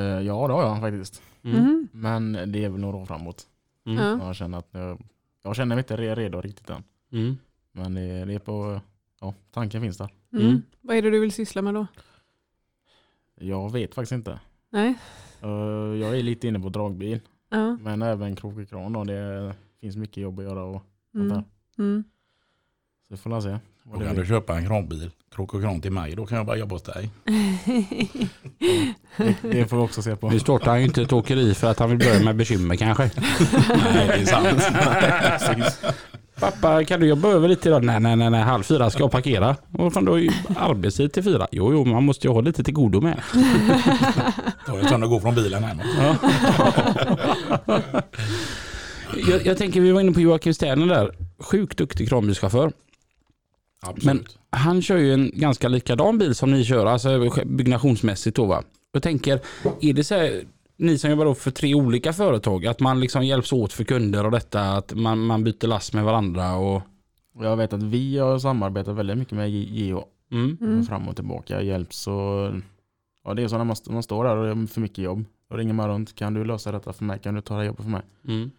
Eh, Ja, det har jag faktiskt. Mm. Mhm. Men det är väl några år framåt. Ja. mm. Jag känner, att jag, jag känner mig inte re- redo riktigt än. Mm. Men det, det är på... Ja, tanken finns där. Mm. Mm. Vad är det du vill syssla med då? Jag vet faktiskt inte. Nej? Eh, Jag är lite inne på dragbil. Ja. Men även krok och kran då. Det finns mycket jobb att göra och sånt Mm. där. Mm. Så vi får la se. Och vad det kan blir. du köpa en kranbil, krok och kran till mig, då kan jag bara jobba hos dig. Mm, Det, det får vi också se på. Nu startar han ju inte ett åkeri för att han vill börja med bekymmer kanske. Nej, det är sant. Pappa, kan du jobba över lite idag? Nej, nej, nej, nej. halv fyra ska jag parkera. Och fan, du har ju arbetstid till fyra. Jo, jo, man måste ju ha lite till godo med. Då är det som att gå från bilen hem. Jag, jag tänker, vi var inne på Joakim Sterner där. Sjukt duktig kranbilschaufför. Absolut. Han kör ju en ganska likadan bil som ni kör, alltså byggnationsmässigt då va. Jag tänker, är det så här, ni som jobbar då för tre olika företag, att man liksom hjälps åt för kunder och detta, att man, man byter last med varandra och... Och Jag vet att vi har samarbetat väldigt mycket med Geo. Mm. Mm. Fram och tillbaka, hjälps och... Ja, det är så när man, st- man står där och det är för mycket jobb. Då ringer man runt. Kan du lösa detta för mig? Kan du ta det här jobbet för mig? Mm.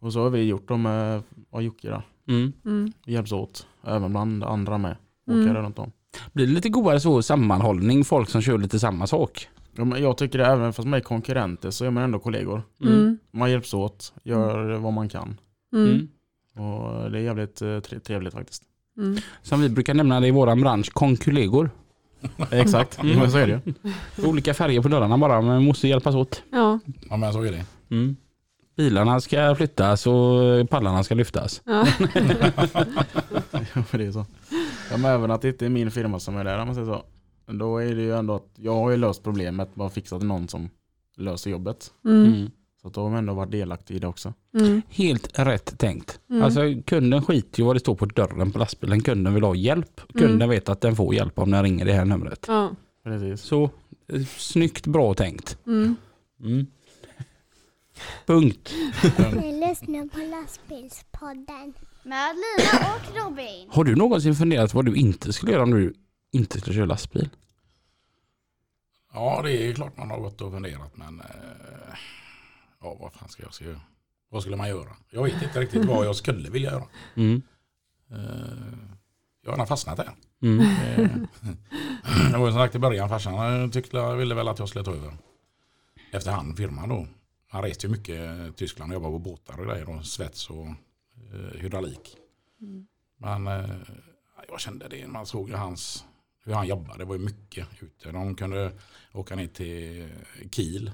Och så har vi gjort dem med ja, Jocke då. Mm. Mm. Vi hjälps åt. Även bland andra med. Mm. Åkare runt om. Blir det lite godare så sammanhållning, folk som kör lite samma sak? Ja, men Jag tycker det, även fast man är konkurrenter så är man ändå kollegor. Mm. Man hjälps åt, gör vad man kan. Mm. Och det är jävligt eh, tre- trevligt faktiskt. Mm. Som vi brukar nämna det i våran bransch, konkulegor. Exakt, men så är det ju. Olika färger på dörrarna bara, men vi måste hjälpas åt. Ja, Ja, men så är det. Mm. Bilarna ska flyttas och pallarna ska lyftas. ja. Ja, men det är så. Ja, men även att det inte är min firma som är där om man säger så. Då är det ju ändå att jag har ju löst problemet, bara fixat någon som löser jobbet. Mm. Mm. Så att då har man ändå varit delaktig i det också. Mm. Helt rätt tänkt. Mm. Alltså kunden skiter ju vad det står på dörren på lastbilen. Kunden vill ha hjälp. Kunden Mm. vet att den får hjälp om den ringer det här numret. Ja. Precis. Så eh, snyggt bra tänkt. Mm. Mm. Punkt. Du lyssnar på Lastbilspodden. Med Lina och Robin. Har du någonsin funderat vad du inte skulle göra om du inte skulle köra lastbil? Ja, det är klart man har gått och funderat men eh, ja, vad fan ska jag ska göra? Vad skulle man göra? Jag vet inte riktigt vad jag skulle vilja göra. Mm. Eh, jag har redan fastnat där. Mm. Eh, Det var ju Eh, som sagt i början, farsan eh, tyckte, ville väl att jag skulle ta över. Efterhand firman då. Han reste ju mycket i Tyskland och jobbade på båtar och grejer. Och svets och eh, hydraulik. Men eh, jag kände det, man såg ju hans, hur han jobbade. Det var ju mycket ute. De kunde åka ner till Kiel.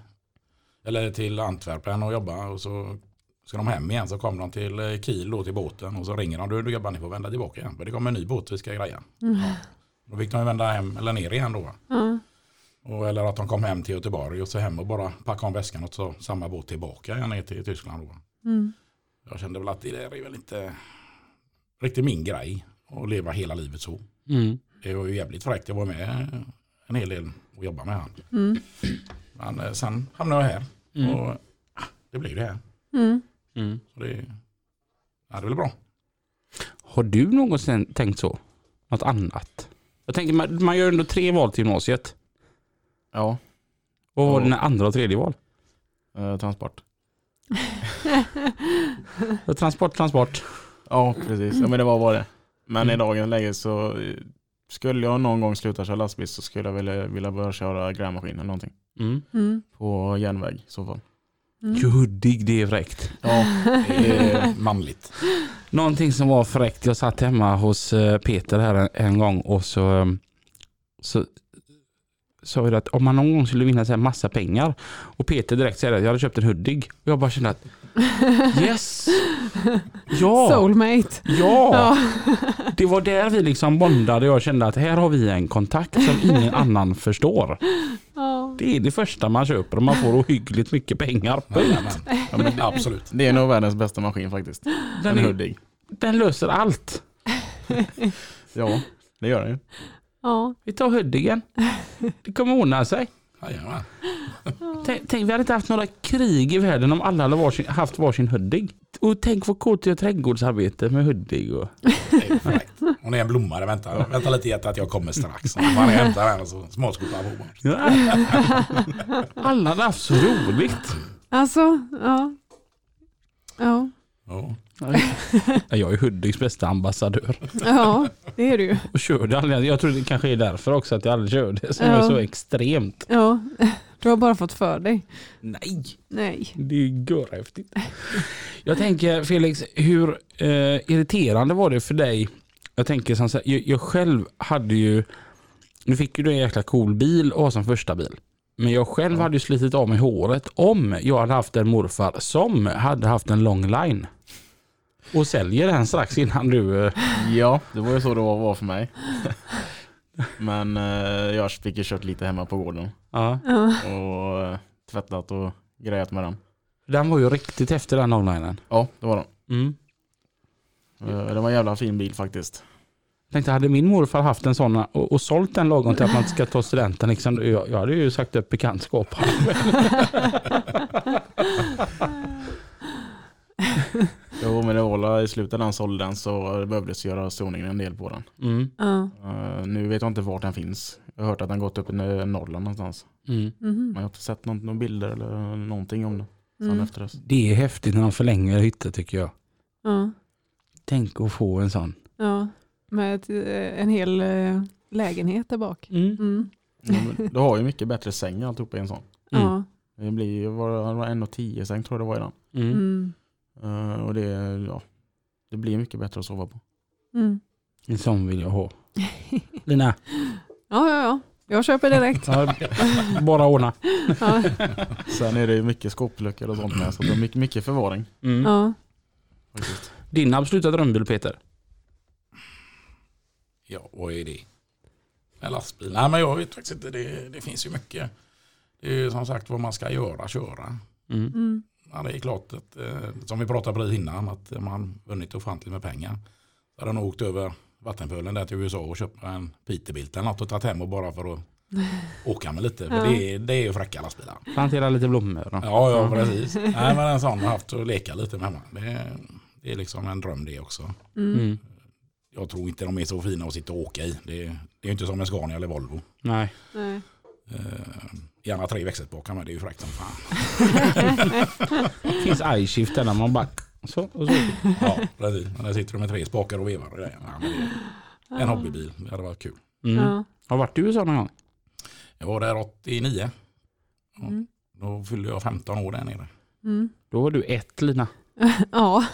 Eller till Antwerpen och jobba. Och så ska de hem igen så kommer de till eh, Kiel då till båten. Och så ringer de. Du, du gubbar ni får vända tillbaka igen. För det kommer en ny båt vi ska greja. Då fick de ju vända hem eller ner igen då. va? Ja. Och, eller att de kom hem till Göteborg och så hem och bara packa om väskan och ta samma båt tillbaka igen ner till Tyskland då. Mm. Jag kände väl att det där är väl inte riktigt min grej att leva hela livet så. Mm. Det var ju jävligt fräckt. Jag var med en hel del och jobbade med han. Mm. Men eh, sen hamnade jag här och ah, det blev det här. Mm. Mm. Så det, ja, det är väl bra. Har du någonsin tänkt så? Något annat? Jag tänker man, man gör ändå tre val till gymnasiet. Ja, Vad var Ja. dina andra och tredje val? eh, transport. Transport, transport. Ja, precis. Ja, men det var bara det. Men i dagens läge så eh, skulle jag någon gång sluta köra lastbil så skulle jag vilja, vilja börja köra grävmaskin eller någonting. Mm. Mm. På järnväg i så fall. Ju huddig, det är fräckt. Ja, Det är manligt. Någonting som var fräckt, jag satt hemma hos eh, Peter här en, en gång och så eh, så sa jag att om man någon gång skulle vinna så här massa pengar och Peter direkt säger att jag hade köpt en Hudig och jag bara kände att yes! Ja! Soulmate. Ja! Ja. Det var där vi liksom bondade och jag kände att här har vi en kontakt som ingen annan förstår. Ja. Det är det första man köper och man får ohyggligt mycket pengar. Punkt. Men, ja men det, absolut. det är nog världens bästa maskin faktiskt. Den, En är, Hudig. den löser allt. Ja, det gör den ju. Ja. Vi tar Hudigen. Det kommer ordna sig. Jajamän. Tänk, tänk, vi hade inte haft några krig i världen om alla hade varsin, haft varsin Hudig. Och tänk vad coolt att göra trädgårdsarbete med Hudig. Och... Det är fräckt. Hon är en blomma, det väntar. Vänta lite hjärta att jag kommer strax. Så Man hämtar henne och så småskuttar på bara. Ja. Alla hade haft så roligt. Alltså, ja. Ja. Ja. Jag är Hudiks bästa ambassadör. ja, det är det ju. Och körde aldrig. Jag tror det kanske är därför också att jag aldrig körde. Som Ja. är så extremt. Ja. Du har bara fått för dig. Nej. Nej. Det är ju görhäftigt. Jag tänker Felix, hur eh, irriterande var det för dig? Jag tänker som så här, jag, jag själv hade ju, nu fick ju du en jäkla cool bil och ha som första bil. Men jag själv hade ju slitit av mig håret om jag hade haft en morfar som hade haft en long line. Och säljer den strax innan du... Eh, Ja, det var ju så det var, var för mig. Men eh, jag fick ju kört lite hemma på gården ja. och eh, tvättat och grejat med den. Den var ju riktigt efter den longlinen. Ja, det var den. Mm. Eh, det var en jävla fin bil faktiskt. Jag tänkte, hade min morfar haft en sån och, och sålt den lagom till att man ska ta studenten, liksom, jag, jag hade ju sagt upp bekantskapen. Jo, men det var väl i slutet när han sålde den så behövdes göras i ordning en del på den. Mm. Ja. Eh, nu vet jag inte vart den finns. Jag har hört att den gått upp i Norrland någonstans. Mm. Mhm. Men jag har inte sett någon, någon bilder eller någonting om den sen Mm. efter det. Det är häftigt när de förlänger hytter tycker jag. Ja. Tänk att få en sån. ja. Med ett, eh, en hel eh, lägenhet där bak. Mm. Ja, men du har ju mycket bättre säng alltihopa i en sån. Ja. Det blir ju var, det var en och tio säng tror jag det var i den. Mm. Mm. Eh, och det, ja, det blir mycket bättre att sova på. Mm. En sån vill jag ha. Lina, Ja, ja, ja. Jag köper direkt. ja, bara ordna. Ja. Sen är det ju mycket skåpluckor och sånt med så det är mycket, mycket förvaring. Mm. Ja. Faktiskt. Din absoluta drömbil Peter? Ja, vad är det? En lastbil. Nej men jag vet faktiskt inte. Det, det finns ju mycket. Det är ju som sagt vad man ska göra, köra. Mm. Mm. Ja, det är klart, att, eh, som vi pratade precis innan, att man vunnit ofantligt med pengar. Så hade han åkt över vattenpölen där till USA och köpt en Peterbilt eller något och tagit hem och bara för att åka med lite. För Ja. det, är, det är ju fräcka lastbilar. Plantera lite blommor. då. Ja, ja precis. Nej, men en sån har haft att leka lite med hemma. Det, är- det är liksom en dröm det också. Mm. Mm. Jag tror inte de är så fina att sitta och åka i. Det, det är ju inte som en Scania eller Volvo. Nej. Nej. Eh, gärna tre växelspakar med, det är ju fräckt som fan. Det finns eye-shift där när man bara... Så, och så. Ja, precis. Men där sitter du med tre spakar och vevar. och grejer. Ja, men det, är en hobbybil, det hade varit kul. Mm. Ja. Har varit i USA någon gång? Jag var där 89. Ja. Mm. Då fyllde jag 15 år där nere. Mm. Då var du ett Lina. Ja.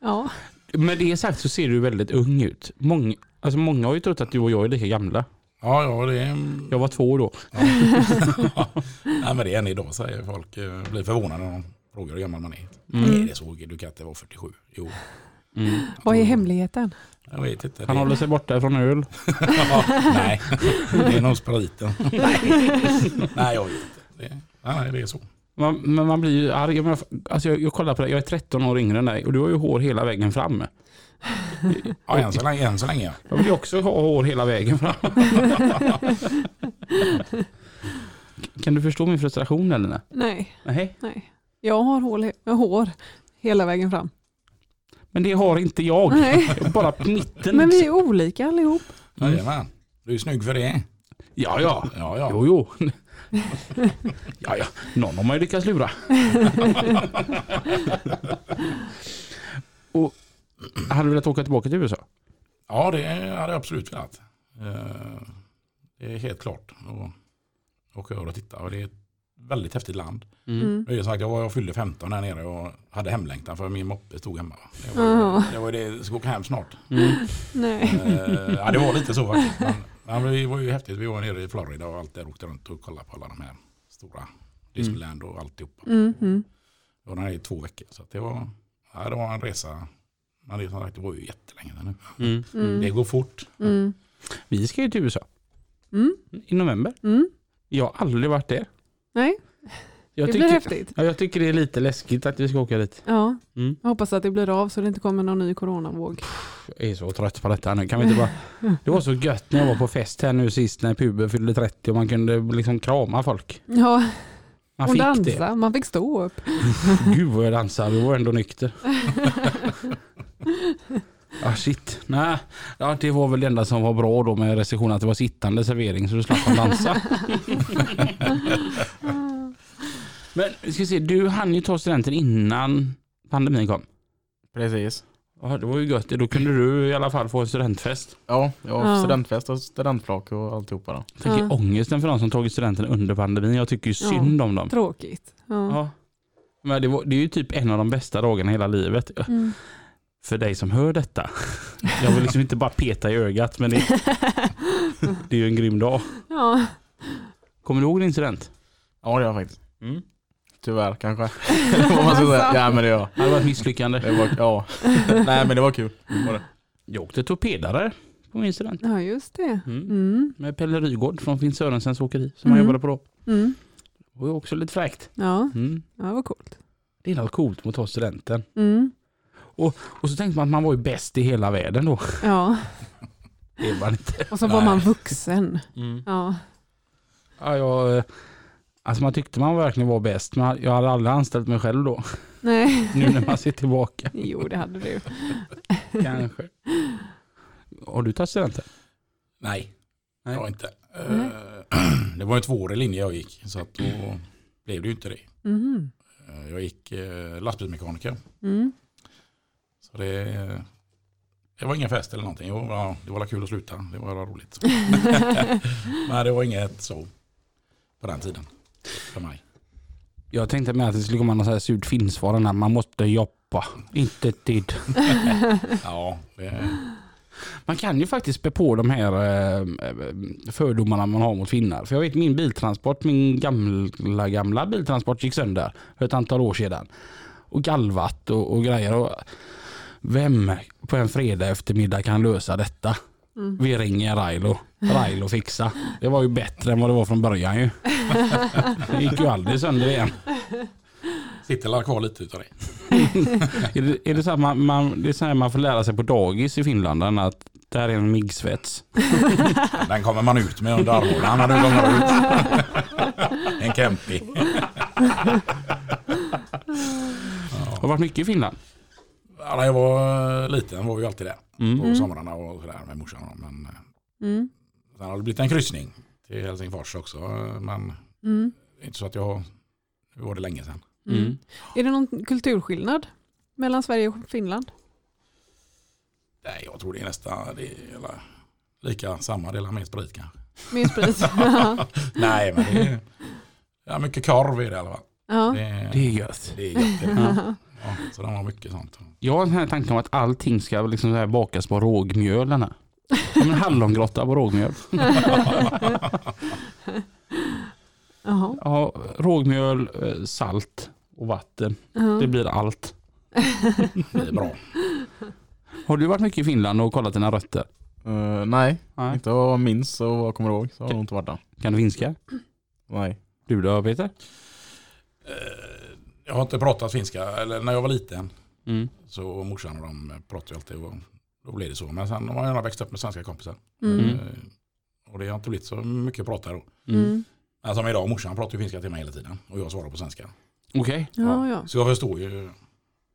ja. Med det sagt så ser du väldigt ung ut. Många, alltså många har ju trott att du och jag är lika gamla. Ja, ja det är... Jag var två år då. Nej, men det är än idag säger folk. eh, Blir förvånade när de frågar hur gammal man är. Nej, det såg du kan inte vara 47. Jo, Mm. Vad är hemligheten? jag vet inte. Han Det- håller sig borta från öl. Ja, nej, det är nog spriten. nej, jag vet inte. Det, nej, nej, det är så. Man, men man blir ju arg. Men jag, alltså jag, jag kollar på dig, jag är 13 år yngre än dig och du har ju hår hela vägen fram. Ja, än så länge. Än så länge ja. Jag vill ju också ha hår hela vägen fram. kan du förstå min frustration eller? Nej. Nej, Nej. nej. Jag har hål, jag har hår hela vägen fram. Men det har inte jag. Nej. Jag är Bara på mitten. Men vi är olika allihop. Jajamän. Du är snygg för det. Ja, ja. Ja, ja. Jo, jo. ja, ja. Någon har man ju lyckats lura. och hade du velat åka tillbaka till USA? Ja, det hade jag absolut velat. Eh, Det är helt klart. Och åka över och titta. Och det är ett väldigt häftigt land. Mm. Det är som sagt, jag, var, jag fyllde 15 där nere och hade hemlängtan för min moppe stod hemma. va. Det var, Ja. det, var ju det, jag ska åka hem snart. Mm. Nej. Eh, ja, det var lite så faktiskt. Men, men det var ju häftigt. Vi var nere i Florida och allt där åkte runt och kollade på alla de här stora Disneyland och alltihopa. Mm. Mm. Jag var nere i två veckor. Så att det, var, ja, det var en resa. Men det, är som sagt, det var ju jättelänge sedan nu. Det Mm. går fort. Mm. Vi ska ju till USA Mm. i november. Mm. Jag har aldrig varit där. Nej, Jag det tycker, blir häftigt. Ja, jag tycker det är lite läskigt att vi ska åka dit. Ja. Mm. Jag hoppas att det blir av så det inte kommer någon ny coronavåg. Jag är så trött på detta nu. Kan vi inte bara... Det var så gött när jag var på fest här nu sist när puben fyllde 30 och man kunde liksom krama folk. Ja, Man och fick dansa. Man fick stå upp. det. Gud vad jag dansade och var ändå nykter. Ah shit. Nej, ja, det var väl det enda som var bra då med restriktionen att det var sittande servering så du slapp att dansa. Men vi ska se, du hann ju ta studenten innan pandemin kom. Precis. Ja, det var ju gött. Då kunde du i alla fall få en studentfest. Ja, jag har Ja. studentfest och studentflak och alltihopa då. Fick ju Ja. ångesten för de som tagit studenten under pandemin. Jag tycker ju synd om dem. Tråkigt. Ja. Ja. Men det, var, det är ju typ en av de bästa dagarna i hela livet. Mm. För dig som hör detta. Jag vill liksom inte bara peta i ögat men det, det är ju en grym dag. ja. Kommer du ihåg din student? Ja det har jag faktiskt. Mm. Tyvärr kanske. Eller Vad man ska säga. Ja men det har jag. Det hade varit misslyckande. Det var, ja. Nej men det var kul. Var det. Jag åkte torpedare på min student. ja, just det. Mm. Mm. Med Pelle Rygård från Finn Sörensens åkeri som han Mm. jobbade på då. Mm. Det var ju också lite fräckt. Ja. Mm. ja, det var coolt. Det är något coolt med att ta studenten. Mm. Och så tänkte man att man var ju bäst i hela världen då. Ja, Det är man inte. och så var man vuxen. Mm. Ja. Ja, jag, eh, alltså man tyckte man verkligen var bäst men jag hade aldrig anställt mig själv då. Nej, Nu när man ser tillbaka. jo det hade du. Kanske. Har du tagit studenten? Nej, Nej. jag har inte. Eh, Det var en tvåårig linje jag gick. Så att då blev det ju inte det. Mhm. Eh, Jag gick eh, lastbilsmekaniker. Mm. Så det, eh, det var ingen fest eller någonting. Jo, ja, det var väl kul att sluta. Det var väl roligt. Men det var inget så på den tiden. För mig. Jag tänkte med att det skulle komma någon sån här surt finsvar när man måste jobba. Inte tid. Ja, det, Man kan ju faktiskt spä på de här eh, fördomarna man har mot finnar. För jag vet min biltransport, min gamla, gamla biltransport gick sönder för ett antal år sedan. Och galvat och, och grejer. Och vem på en fredag eftermiddag kan lösa detta? Vi ringer Railo. Railo fixa. Det var ju bättre än vad det var från början ju. Det gick ju aldrig sönder igen. Sitter la kvar lite utav det. Är det, är det, så här man, man, det är så här man får lära sig på dagis i Finland, den att det här är en miggsvets. Den kommer man ut med under armhålan när du kommer ut. En Kempi. Det har varit mycket i Finland. Ja, när jag var eh, liten var vi ju alltid där Mm. på somrarna och sådär med morsan. och dem. Men eh, Mm. sen har det blivit en kryssning till Helsingfors också. eh, Men Mm. det är inte så att jag... Nu var det länge sedan. Mm. Mm. Är det någon kulturskillnad mellan Sverige och Finland? Nej, jag tror det är nästan det är, hela- lika samma, delar mer sprit kanske. Mer sprit? ja. Nej, men det är ja, mycket korv i det i alla fall. Det är, Det är gött. det är gött. det. Ja. Ja, så de har mycket sånt. Jag har den här tanken om att allting ska liksom så här bakas på rågmjöl. den här. Som en hallongrotta på rågmjöl. Jaha. Ja, rågmjöl, eh, salt och vatten. Ja. Det blir allt. Det är bra. Har du varit mycket i Finland och kollat dina rötter? Eh, nej, Nej. inte vad jag minns och vad jag kommer ihåg så har jag nog inte varit där. Kan du finska? Nej. Du då Peter? Eh, Jag har inte pratat finska, eller när jag var liten Mm. så morsan och de pratade ju alltid och då blev det så. Men sen har jag gärna växt upp med svenska kompisar. Mm. Eh, Och det har inte blivit så mycket att prata då. Mm. Men som idag, morsan pratar ju finska till mig hela tiden och jag svarar på svenska. Okej. Ja, ja. Så jag förstår ju När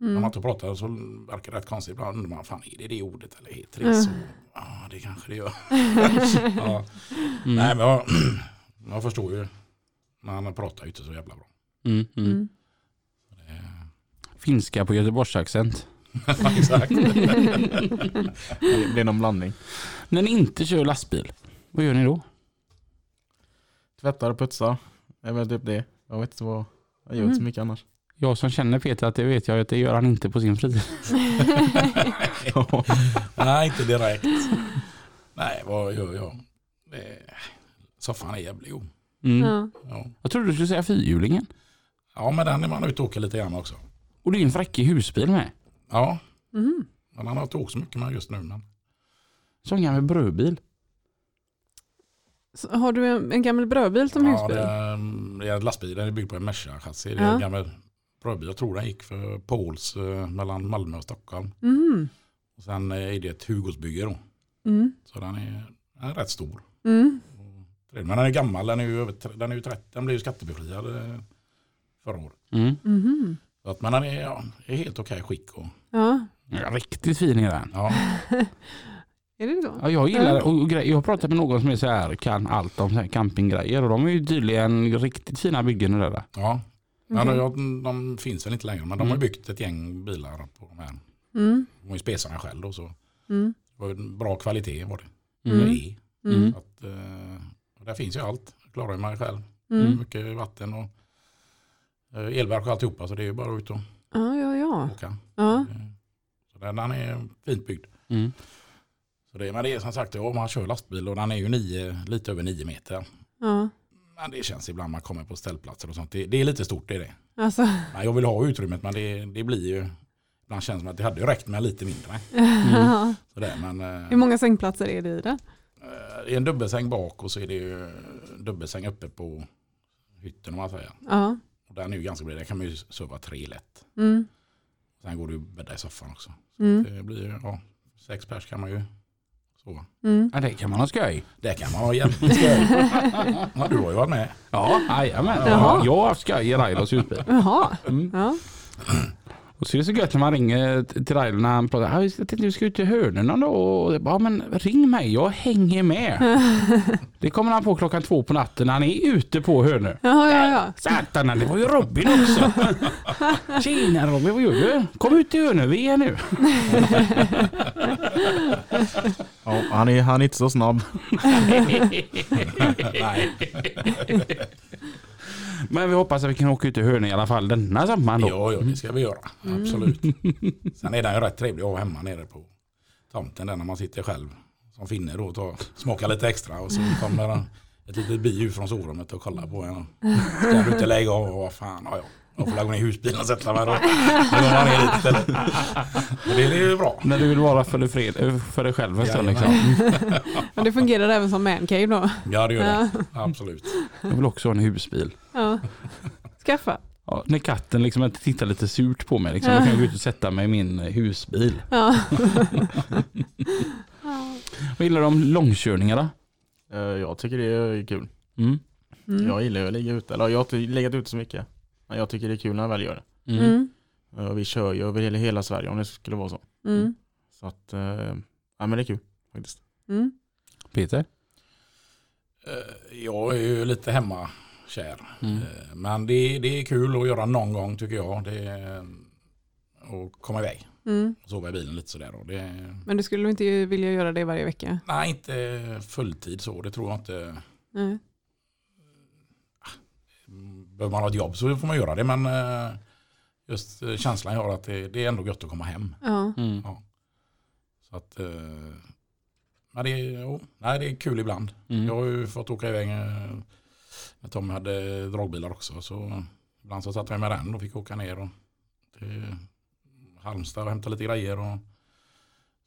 man Mm. inte pratar så verkar det rätt konstigt. Ibland undrar man, fan är det det ordet eller heter det så? Mm. Ja, det kanske det gör. ja. Nej, Mm. men jag, jag förstår ju. Men han pratar ju inte så jävla bra. Mm. Mm. Mm. Finska på göteborgsaccent. Exakt. Det blir någon blandning. När ni inte kör lastbil, vad gör ni då? Tvättar och putsar. Det är väl typ det. Jag vet inte vad jag gör inte så Mm. mycket annars. Jag som känner Peter att det vet jag att det gör han inte på sin fritid. Nej, inte direkt. Nej, vad gör jag? Eh, Soffan är jävligt god. Mm. Ja. Ja. Jag trodde du skulle säga fyrhjulingen. ja, men den är man ute och åker lite grann också. Och det är en fräckig husbil med. Ja, Mm. men han har inte åkt så mycket med just nu. Men... Som en gammal brödbil. Så har du en, en gammal brödbil som Ja, husbil? det är, det är en lastbil. Den är byggd på en Merca-chassi. Det är Ja. en gammal brödbil. Jag tror den gick för Pauls eh, mellan Malmö och Stockholm. Mm. Och sen eh, är det ett Hugosbygge då. Mm. Så den är, den är rätt stor. Mm. Men den är gammal. Den, är ju över, tre- den, är ju 30, den blev ju skattebefriad eh, förra året. Mm. Mhm. Så att, men den är, ja, är helt okej skick. Och, Ja, Ja, Riktigt fin är den. ja. är det så? Ja, jag gillar och, och gre- Jag har pratat med någon som är så här, kan allt om så här campinggrejer och de är ju tydligen riktigt fina byggen och det där. ja. Men Okej. de, de finns väl inte längre. Men de har Mm. byggt ett gäng bilar på de här. Mm. De var ju spesarna själv då. Så det Mm. var ju en bra kvalitet var det. Mm. Det är. Mm. Så Att, eh, och där finns ju allt. Jag klarar ju mig själv. Mm. Mycket vatten och eh, elverk och alltihopa. Så det är ju bara ut och Ja, ja, ja. åka. ja. Eh, Så den, den är fint byggd. Mm. Så det, men det är som sagt, ja, man kör lastbil och den är ju nio, lite över nio meter. ja. Men det känns ibland man kommer på ställplatser och sånt. Det, det är lite stort det är det. Alltså, Men jag vill ha utrymmet men det, det blir ju, ibland känns det som att det hade ju räckt med lite mindre. Mm. Sådär, men, eh, hur många sängplatser är det i den? eh, det är en dubbelsäng bak och så är det ju dubbelsäng uppe på hytten om man säger. Ja. Och den är ju ganska bred, där kan man ju sova tre lätt. Mm. Sen går det ju att bädda i soffan också. Mm. Det blir ju, ja, sex pers kan man ju sova. Mm. Ja, det kan man ha skoj. Det kan man ha jävligt skoj. Ja, Du har ju varit med. Ja, jajamän. Jaha. Jag har haft skoj i Railos husbil. Jaha. Mm. Ja. Och så är det så gött när man ringer t- till Railo när han pratar. "Ah, Jag tänkte vi ska ut till Hönorna då. Och jag bara, Ja men ring mig, jag hänger med. Det kommer han på klockan två på natten när han är ute på Hönö. Ja, ja, ja. Satan, det var ju Robin också. Tjena Robin, vad gör du? Kom ut till Hönö, vi är nu. Ja, han, är, han är inte så snabb. Men vi hoppas att vi kan åka ut till Hönö i alla fall denna sommaren då. Ja, ja, det ska vi göra. Absolut. Sen är den ju rätt trevlig att ha hemma nere på tomten där när man sitter själv som finne då och tar, smakar lite extra och så kommer en- ett litet bi ut från sovrummet och kollar på en. Ska du inte lägga av? Vad fan, ja, ja. Jag får lägga ner husbilen och sätta mig då. Då går man ner dit istället. Men det är ju bra. När du vill vara för dig, fred, eh, för dig själv en stund. Liksom. Jajamän. Men det fungerar även som mancave då. Ja det gör det. Absolut. Jag vill också ha en husbil. Ja. Skaffa. Ja, när katten liksom inte tittar lite surt på mig. Liksom. Då kan jag gå ut och sätta mig i min eh, husbil. Ja. Vad gillar du om långkörningarna? Eh, Jag tycker det är kul. Mm. Mm. Jag gillar ju att ligga ute. Eller jag har inte legat ute så mycket. Men jag tycker det är kul när jag väl gör det. Mm. Mm. Eh, Vi kör ju över hela, hela Sverige om det skulle vara så. Mm. Så att, eh, ja men det är kul faktiskt. Mm. Peter? Eh, Jag är ju lite hemmakär. Mm. Eh, Men det, det är kul att göra någon gång tycker jag. Det är, och komma iväg. Mm. Sova i bilen lite sådär. Och det, Men du skulle inte vilja göra det varje vecka? nej, inte fulltid så. Det tror jag inte. Nej. Behöver man ha ett jobb så får man göra det. Men eh, just eh, känslan jag har att det, det är ändå gött att komma hem. Ja. Mm. Så att, eh, men det, är- jo, nej, det är kul ibland. Mm. Mm. Jag har ju fått åka iväg eh, när Tommy hade dragbilar också. Så ibland så satt jag med den och fick åka ner och till Halmstad och hämta lite grejer. Och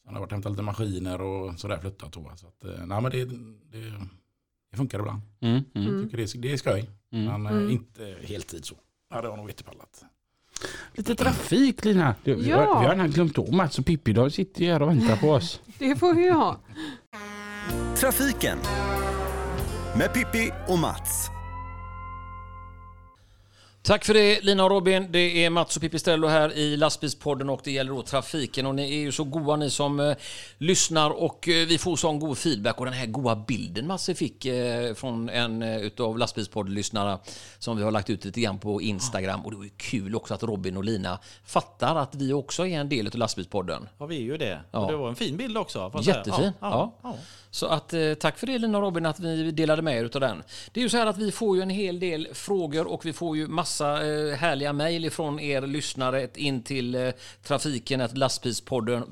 sen har jag varit och hämtat lite maskiner och sådär flyttat. Och, så att, eh, nej, men det, det, det funkar ibland. Mm. Mm. Mm. Jag tycker det, är, det är skoj. Mm. Men eh, Mm. inte heltid så. Ja, det var nog inte pallat. Lite trafik Lina. Du, Vi, Ja. har, vi har nästan glömt om Mats och Pippi. De sitter ju här och väntar på oss. Det får vi ju ha. Trafiken med Pippi och Mats. Tack för det Lina och Robin. Det är Mats och Pipistrello här i lastbilspodden och det gäller då trafiken. Och ni är ju så goa ni som eh, lyssnar och eh, vi får sån god feedback. Och den här goa bilden Masse fick eh, från en eh, utav lastbilspoddlyssnarna som vi har lagt ut lite grann på Instagram. Och det var ju kul också att Robin och Lina fattar att vi också är en del utav lastbilspodden. Ja, vi är ju det. Ja. Och det var en fin bild också. får jag säga. Jättefin. Ja, Ja. ja, ja. Så att, eh, tack för det Lina och Robin att vi delade med er utav den. Det är ju så här att vi får ju en hel del frågor och vi får ju massa eh, härliga mejl ifrån er lyssnare ett in till eh, trafiken lastbilspodden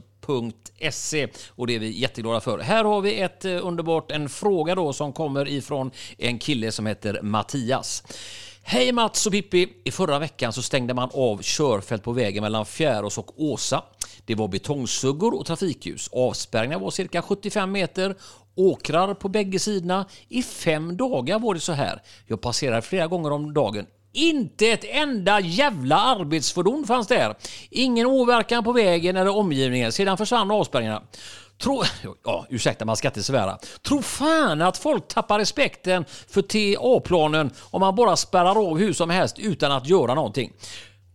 och det är vi jätteglada för. Här har vi ett eh, underbart, en fråga då som kommer ifrån en kille som heter Mattias. Hej Mats och Pippi! I förra veckan så stängde man av körfält på vägen mellan Fjärås och Åsa. Det var betongsuggor och trafikljus. Avspärrningen var cirka 75 meter. Åkrar på bägge sidorna. I fem dagar var det så här. Jag passerade flera gånger om dagen. Inte ett enda jävla arbetsfordon fanns där. Ingen åverkan på vägen eller omgivningen. Sedan försvann avspärrningarna. Tro, ja, ursäkta, man ska inte svära. Tro fan att folk tappar respekten för TA-planen om man bara spärrar av hur som helst utan att göra någonting.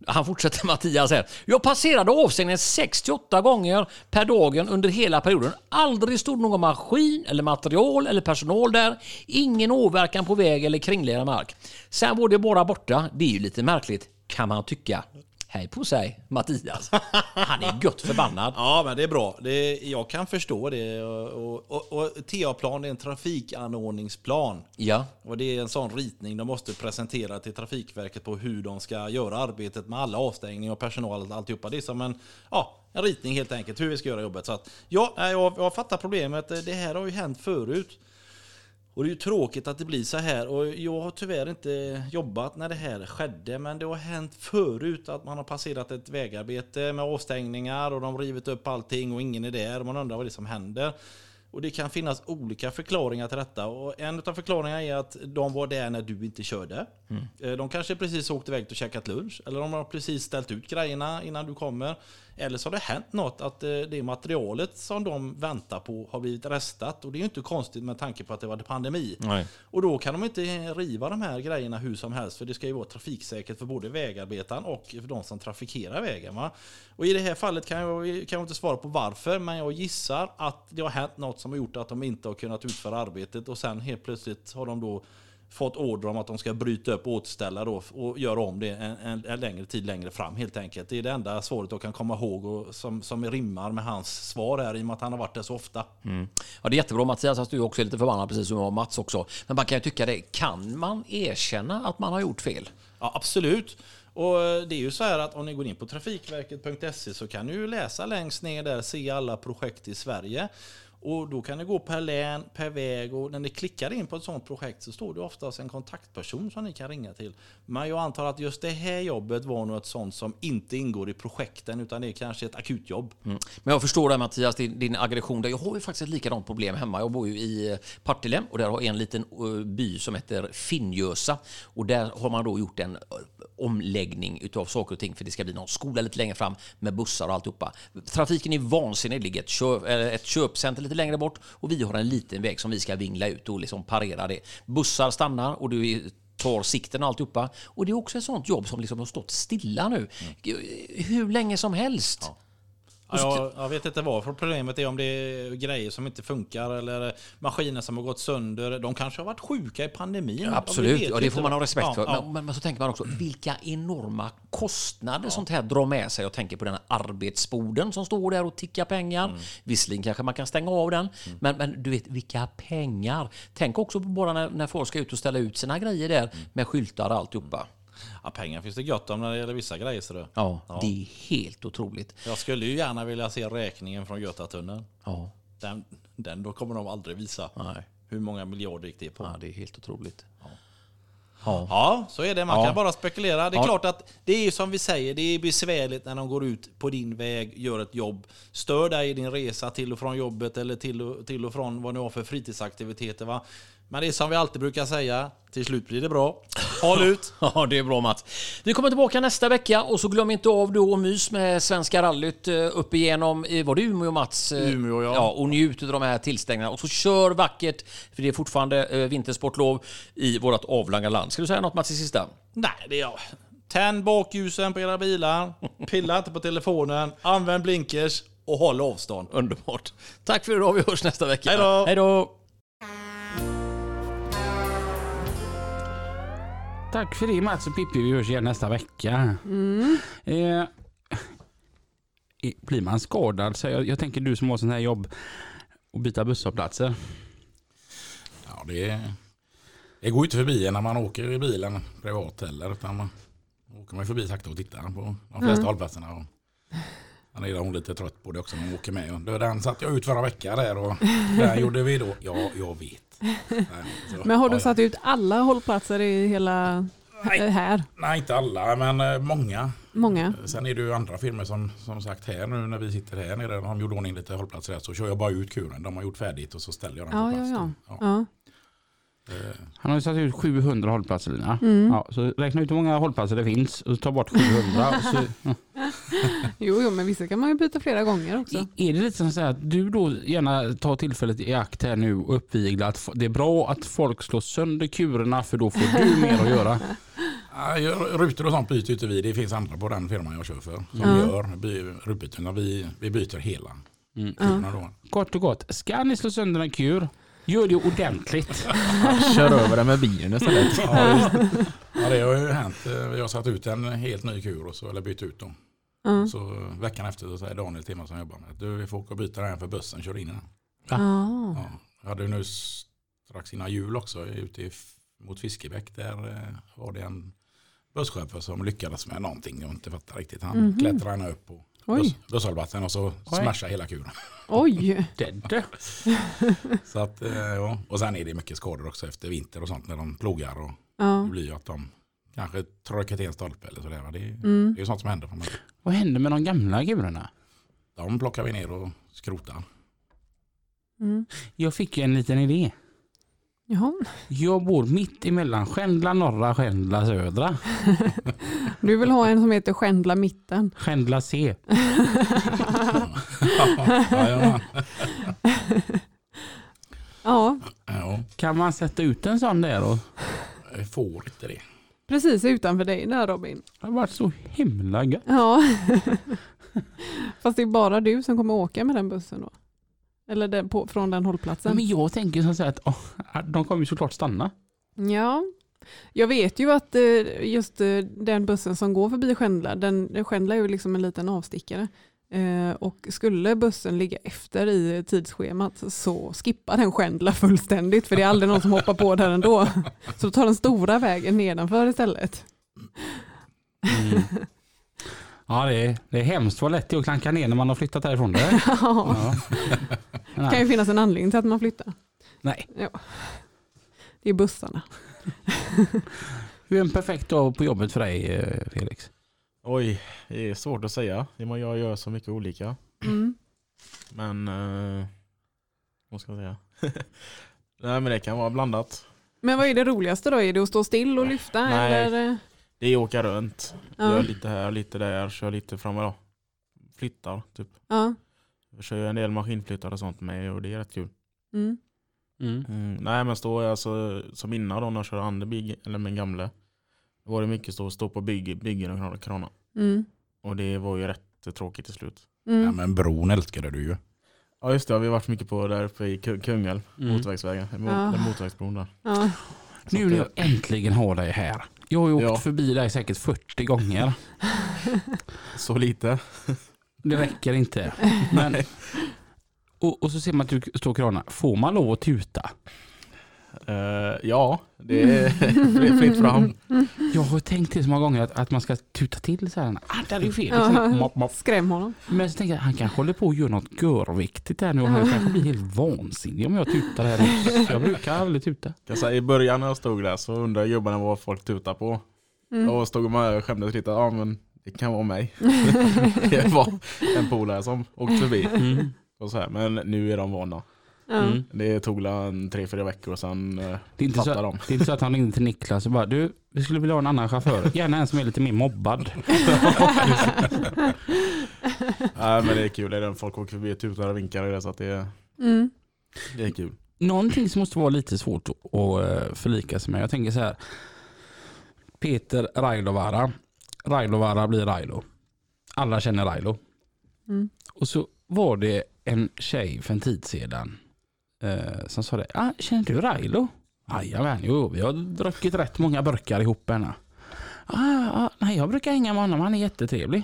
Han fortsätter Mattias här. Jag passerade avstängningen 68 gånger per dagen under hela perioden. Aldrig stod någon maskin eller material eller personal där. Ingen åverkan på väg eller kringlera mark. Sen var det bara borta. Det är ju lite märkligt kan man tycka. Hej på sig Mattias. Han är gött förbannad. Ja, men det är bra. Det är, jag kan förstå det. Och, och, och TA-plan är en trafikanordningsplan. Ja. Och det är en sån ritning de måste presentera till Trafikverket på hur de ska göra arbetet med alla avstängningar och personal och alltihopa. Det är som en, ja, en ritning helt enkelt, hur vi ska göra jobbet. Så att, ja, nej, jag, jag fattar problemet. Det här har ju hänt förut. Och det är ju tråkigt att det blir så här. Och jag har tyvärr inte jobbat när det här skedde. Men det har hänt förut att man har passerat ett vägarbete med avstängningar och de har rivit upp allting och ingen är där. Man undrar vad det är som händer. Och det kan finnas olika förklaringar till detta. Och en av förklaringarna är att de var där när du inte körde. Eh, De kanske precis åkt iväg och käkat lunch. Eller de har precis ställt ut grejerna innan du kommer. Eller så har det hänt något att eh, det materialet som de väntar på har blivit restat. Och det är ju inte konstigt med tanke på att det var pandemi. Och då kan de inte riva de här grejerna hur som helst för det ska ju vara trafiksäkert för både vägarbetaren och för de som trafikerar vägen. Va? Och i det här fallet kan jag, kan jag inte svara på varför men jag gissar att det har hänt något som har gjort att de inte har kunnat utföra arbetet och sen helt plötsligt har de då fått order om att de ska bryta upp och återställa då och göra om det en, en, en längre tid längre fram helt enkelt. Det är det enda svaret jag kan komma ihåg och som, som rimmar med hans svar här i och med att han har varit där så ofta. Ja, det är jättebra Mattias att du också är lite förbannad precis som jag och Mats också. Men man kan ju tycka det. Kan man erkänna att man har gjort fel? Ja, absolut. Och eh, det är ju så här att om ni går in på trafikverket.se så kan ni ju läsa längst ner där, se alla projekt i Sverige. Och då kan det gå per län, per väg och när ni klickar in på ett sådant projekt så står det oftast en kontaktperson som ni kan ringa till. Men jag antar att just det här jobbet var nog ett sånt som inte ingår i projekten utan det är kanske ett akutjobb. Mm. Men jag förstår det Mattias, din, din aggression. Där. Jag har ju faktiskt ett likadant problem hemma. Jag bor ju i eh, Partille och där har en liten eh, by som heter Finnjösa. Och där har man då gjort en eh, omläggning utav saker och ting för det ska bli någon skola lite längre fram med bussar och alltihopa. Trafiken är vansinnig. Det ligger ett, köp, eh, ett köpcenter lite längre bort och vi har en liten väg som vi ska vingla ut och liksom parera det. Bussar stannar och du är tar sikten och alltihopa. Och det är också ett sånt jobb som liksom har stått stilla nu. Hur länge som helst. Ja, jag, jag vet inte varför problemet är om det är grejer som inte funkar eller maskiner som har gått sönder. De kanske har varit sjuka i pandemin. Ja, Ja, vi Absolut, vet och det inte. får man ha respekt Ja, för. ja. Men, men så tänker man också, vilka enorma kostnader sånt här drar med sig. Jag tänker på den här arbetsboden som står där och tickar pengar. Visserligen kanske man kan stänga av den, men, men du vet vilka pengar. Tänk också på bara när, när folk ska ut och ställa ut sina grejer där med skyltar och alltihopa. Ja, pengar finns det gött om när det gäller vissa grejer. ser du. Ja, det är helt otroligt. Jag skulle ju gärna vilja se räkningen från Götatunneln. Ja, Den, den då kommer de aldrig visa. nej. Hur många miljarder gick det på? ja det är helt otroligt. Ja. Ja, så är det. Man Ja. kan bara spekulera. Det är Ja. klart att det är som vi säger, det är besvärligt när de går ut på din väg, gör ett jobb, stör dig i din resa till och från jobbet eller till och, till och från vad ni har för fritidsaktiviteter. Va? Men det är som vi alltid brukar säga, till slut blir det bra. Håll ut! Ja, det är bra Mats. Vi kommer tillbaka nästa vecka och så glöm inte av då och mys med Svenska rallyt eh, upp igenom, eh, var det Umeå Mats? Eh, Umeå, ja. ja. Och njut av de här tillstängningarna och så kör vackert, för det är fortfarande eh, vintersportlov i vårt avlånga land. Ska du säga något Mats i sista? Nej, det är jag. Tänd bakljusen på era bilar, pilla inte på telefonen, använd blinkers och håll avstånd. Underbart. Tack för idag, vi hörs nästa vecka. Hej då. Hej då! Tack för det Mats och Pippi. Vi hörs igen nästa vecka. Eh, eh, blir man skadad? Så jag, jag tänker du som har sån här jobb och byta busshållplatser. Ja, det, det går ju inte förbi en när man åker i bilen privat heller. Utan man åker man ju förbi sakta och tittar på de flesta hållplatserna. Och, han är hon lite trött på det också när hon åker med. Du, Den satt jag ut förra veckan där och den gjorde vi då. Ja, jag vet. Nej, så- Men har ja, du ja. satt ut alla hållplatser i hela Nej. här? Nej, inte alla, men eh, många. Många? Sen är det ju andra filmer som, som sagt här nu när vi sitter här nere. De gjorde ordning lite hållplatser där så kör jag bara ut kuren. De har gjort färdigt och så ställer jag den Ja, ja, på plats. ja. då. Ja. ja. Eh, Han har ju satt ut 700 hållplatser Lina. Ja, så räkna ut hur många hållplatser det finns och ta bort 700. och så, Jo, jo, men vissa kan man ju byta flera gånger också. Är det lite som så här att du då gärna tar tillfället i akt här nu och uppviglar att f- det är bra att folk slår sönder kurerna för då får du mer att göra. Ja, gör- Rutor och sånt byter ju inte vi. Det finns andra på den firman jag kör för som Mm. gör by- rutbytena. Vi, vi byter hela. Typ Mm. kurvorna då. Kort och gott, ska ni slå sönder en kur, gör det ordentligt. Kör över den med bilen istället. Ja, ja, det har ju hänt. Eh, Vi har satt ut en helt ny kur och så, eller bytt ut dem. Ja. Så eh, veckan efter så säger Daniel till mig som jobbar med att du vi får åka och byta den här för bussen kör in den. Mm. Ja. Ja. Jag hade ju nu strax innan jul också ute i, mot Fiskebäck. Där eh, var det en busschaufför som lyckades med någonting jag inte fattar riktigt. Han Mhm. klättrade ner upp på buss, Oj, busshållplatsen och så Oj. smashade hela kuren. oj. Dödde. Så att, eh, ja. Och sen är det mycket skador också efter vinter och sånt när de plogar. Och det Ja. blir ju att de kanske trökar till en stolpe eller sådär. va. Det, är- Mm. det är ju sånt som händer. För mig. Vad hände med de gamla kurerna? De plockar vi ner och skrotar. Mm. Jag fick ju en liten idé. Jaha. Jag bor mitt emellan Skändla norra, Skändla södra, Du vill ha en som heter Skändla mitten? Skändla C. ja, ja, Ja, ja. Kan man sätta ut en sån där? Och... Jag får inte det. precis utanför dig där Robin. Det har varit så himla gött. Ja. Fast det är bara du som kommer åka med den bussen då? Eller den på, från den hållplatsen? Men jag tänker som så här att åh, de kommer ju såklart stanna. Ja, jag vet ju att eh, just eh, den bussen som går förbi Skändla, den, Skändla är ju liksom en liten avstickare. Eh, Och skulle bussen ligga efter i tidsschemat så skippa den Skändla fullständigt för det är aldrig någon som hoppar på där ändå. Så Mm. ta den stora vägen nedanför istället. Ja, det är, det är hemskt vad lätt det är att klanka ner när man har flyttat härifrån. Det. Ja, Ja. det kan ju finnas en anledning till att man flyttar. Nej. Ja. Det är bussarna. Hur är en perfekt dag på jobbet för dig eh, Felix? Oj, det är svårt att säga. I och med att Jag gör så mycket olika. Mm. Men... Eh, vad ska jag säga? Nej men det kan vara blandat. Men vad är det roligaste då? Är det att stå still och lyfta? Nej. Eller? eh, Det är åka runt. Ja. Gör lite här, lite där, kör lite fram och då. Flyttar typ. Ja. Jag kör ju en del maskinflyttar och sånt med och det är rätt kul. Mm. Mm. Mm, nej men stå alltså, som innan då när jag körde Anderbig, eller min gamle. Då var det mycket stå, stå på bygg, byggen och krana- krana. Mm. Och det var ju rätt tråkigt till slut. Ja, Mm. men bron älskade du ju. Ja just det, ja, vi har varit mycket på där uppe i Ku- Kungälv. Mm. Motorvägsvägen, mot, Ah. den motorvägsbron där. Ja. Nu när jag äntligen har dig här. Jag har ju åkt Ja. förbi dig säkert 40 gånger. Så lite. Det räcker inte. Men, och, och så ser man att du står och kranar. Får man lov att tuta? Eh, ja, det är det är fritt fram. Jag har tänkt det så många gånger att, att man ska tuta till så här. Ah, där är ju Felix. Ja. Mop, mop. Skräm honom. Men så tänker jag, han kanske håller på att göra något görviktigt här nu. och Jag kanske blir helt vansinnig om jag tutar här. ute. Så Jag brukar aldrig tuta. Jag säger, I början när jag stod där så undrade gubbarna vad folk tutar på. Mm. Och stod man och skämdes lite, ja men det kan vara mig. det var en polare som åkte förbi. Mm. Och så här. Men nu är de vana. Ja. Mm. Det tog la en tre, fyra veckor och sen eh, Det, är inte så, fattar de. det är inte så att han ringde till Niklas och bara du, vi skulle vilja ha en annan chaufför. Gärna en som är lite mer mobbad. Nej men det är kul, det är den folk åker förbi och tutar och vinkar och det så att det är, Mm. det är kul. Någonting som måste vara lite svårt att- att eh, förlika sig med. Jag tänker så här. Peter Railovara. Railovara blir Railo. Alla känner Railo. Mm. Och så var det en tjej för en tid sedan eh, som sa det. Ah, känner du Railo? Jajamän, jo vi har druckit rätt många burkar ihop henne. Ah, ah, nej, jag brukar hänga med honom, han är jättetrevlig.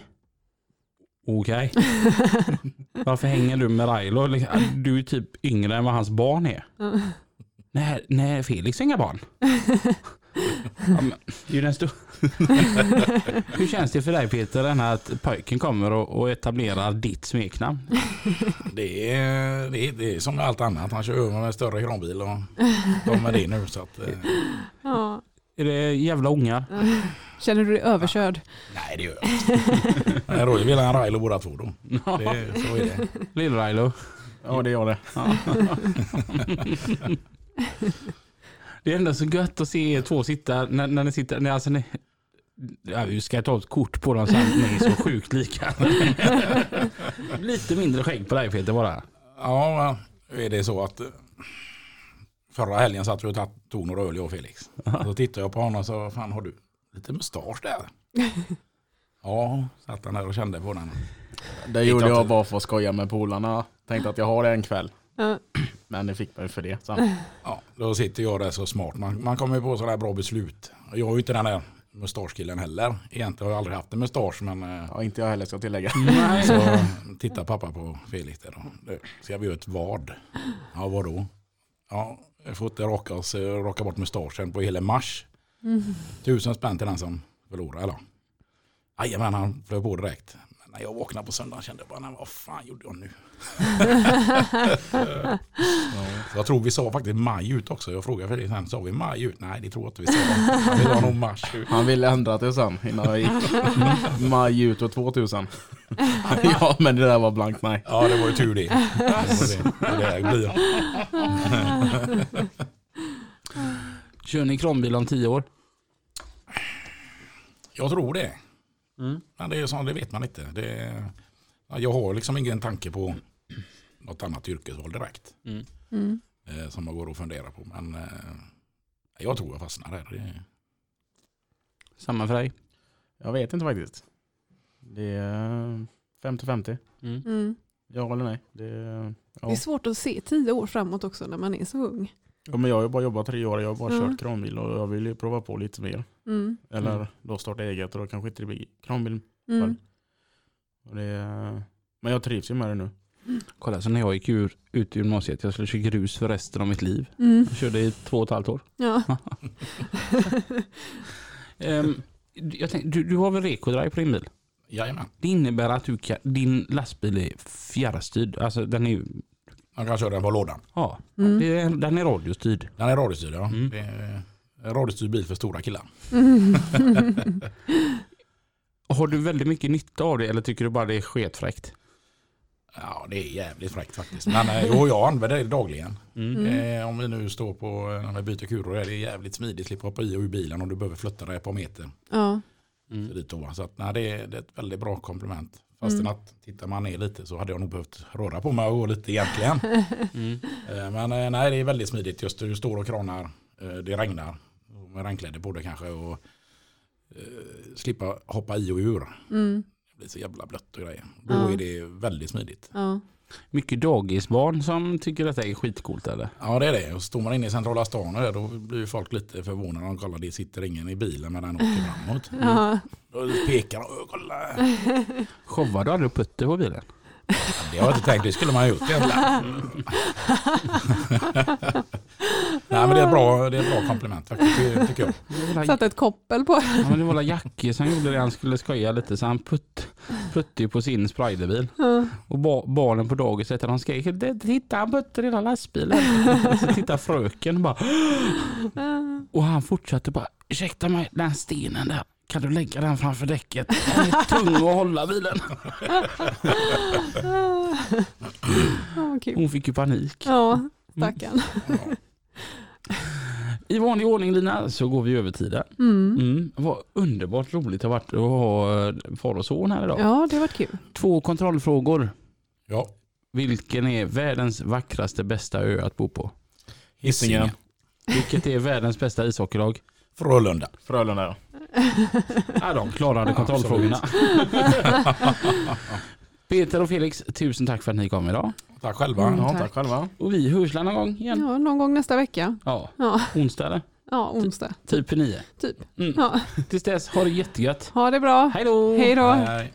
Okej. Varför hänger du med Railo? Liksom, Du är typ yngre än vad hans barn är. Nej, nej Felix har inga barn. ja, men, det är ju den stor... Hur känns det för dig Peter den här att pojken kommer och, och etablerar ditt smeknamn? Det är, det, är, det är som allt annat. Han kör över med en större kranbil och de med det nu. Så att, eh, Ja. Är det jävla ungar? Känner du dig överkörd? nej, det gör jag inte. Men Roy vill ha en Railo båda två då. Det, är- så är det. Lill-Railo. Ja det gör det. Det är ändå så gött att se er två sitta när, när ni sitter, när, alltså ni, ja, vi ska ta ett kort på dem sen, ni är så sjukt lika. Lite mindre skägg på dig Peter bara. Ja, är det så att eh, förra helgen satt vi och tatt- tog några öl jag och Felix. Då tittade jag på honom och sa, fan har du lite mustasch där? Ja, satt han där och kände på den. Det gjorde klart jag det. bara för att skoja med polarna. Tänkte att jag har det en kväll. Ja. Men det fick man ju för det sen. Ja, då sitter jag där så smart. Man, man kommer ju på sådana här bra beslut. Jag är ju inte den där mustaschkillen heller. Egentligen har jag aldrig haft en mustasch men eh, Ja, inte jag heller ska jag tillägga. så tittar pappa på Felix där. då. Du, Ska vi göra ett vad? Ja vadå? Ja, jag får inte raka, oss, eh, raka bort mustaschen på hela mars. Tusen spänn till den som förlorar eller? Jajamän, han flög på direkt. Men när jag vaknade på söndagen kände jag bara, "Nej, vad fan gjorde jag nu? Så jag tror vi sa faktiskt maj ut också. Jag frågade Felix sen, sa vi maj ut? Nej, det tror jag inte vi sa. Vi sa nog mars ut. Han ville ändra till sen innan jag gick. Maj ut och 2000. Ja men det där var blankt nej. Ja, det var ju tur det. det, var det. det blir. Kör ni kranbil om tio år? Jag tror det. Men det, är så, det vet man inte. Det, ja, jag har liksom ingen tanke på något annat yrkesval direkt. Mm. Mm. Eh, som jag går och funderar på. Men eh, jag tror jag fastnar där. Det, Samma för dig? Jag vet inte faktiskt. Det är 50-50. Mm. Ja eller nej. Det är, Det är ja. svårt att se tio år framåt också när man är så ung. Ja, men jag har ju bara jobbat tre år. Jag har bara Ja. kört kranbil och jag vill ju prova på lite mer. Mm. Eller Mm. då starta eget och då kanske inte det blir kranbil. Mm. Och det är, men jag trivs ju med det nu. Kolla, så när jag gick ur, ut i gymnasiet, jag skulle köra grus för resten av mitt liv. Mm. Jag körde i två och ett halvt år. Ja. Ehm, jag tänkte, du, du har väl rekodrive på din bil? Jajamän. Det innebär att du kan, din lastbil är fjärrstyrd. Alltså den är, Man kan köra den på lådan. ja, Mm. det är, den är radiostyrd. Den är radiostyrd ja. Det är en radiostyrd bil för stora killar. Har du väldigt mycket nytta av det eller tycker du bara det är sketfräckt? Ja, det är jävligt fräckt faktiskt. Men eh, jo, jag använder det dagligen. Eh, om vi nu står på, eh, när vi byter kuror, är det jävligt smidigt. Slipper hoppa i och ur bilen om du behöver flytta dig ett par meter. Ja. Så dit och va. Mm. Så att, nej, det, är, det är ett väldigt bra komplement. Fastän att tittar man ner lite så hade jag nog behövt röra på mig och gå lite egentligen. Eh, Men eh, nej, det är väldigt smidigt. Just det, du står och kranar, eh, det regnar. Och Med regnkläder på dig kanske. Och eh, slippa hoppa i och ur. Det blir så jävla blött och grejer. Då är det väldigt smidigt. Ja. Mycket dagisbarn som tycker detta är skitcoolt eller? Ja det är det. Och står man inne i centrala stan och det, då blir ju folk lite förvånade. De kollar, det sitter ingen i bilen men den åker framåt. Då pekar de, "Åh, kolla. Ja, Showar du aldrig putter på bilen? Det har jag inte tänkt, det skulle man ha gjort jävlar. Nej men det är ett bra, det är ett bra komplement faktiskt, det tycker jag. Det var la- Satt ett koppel på Ja, men det var la Jackie som gjorde det. Han skulle skoja lite så han putt, putte ju på sin Spriderbil. Och ba, barnen på dagis efter de skrek "Det- titta han putter hela lastbilen. så tittar fröken och bara Och han fortsatte bara ursäkta mig den stenen där. Kan du lägga den framför däcket? Den är tung att hålla bilen. Ja, vad kul. Hon fick ju panik. Ja, stackarn. I vanlig ordning Lina så går vi över tiden. Mm. Vad underbart roligt det har varit att ha eh, far och son här idag. Ja, det var kul. Två kontrollfrågor. Ja, Vilken är världens vackraste bästa ö att bo på? Hisingen. Vilket är världens bästa ishockeylag? Frölunda. Frölunda. Ja, de klarade kontrollfrågorna. Peter och Felix, tusen tack för att ni kom idag. Tack själva. Mm, Ja, tack. tack själva. Och vi hörs väl någon gång igen? Ja, någon gång nästa vecka. Ja, Ja, onsdag eller? ja onsdag. Typ nio. Typ. Mm. Ja. Tills dess, ha det jättegött. Ha det bra. Hej då! Hej då. Nej.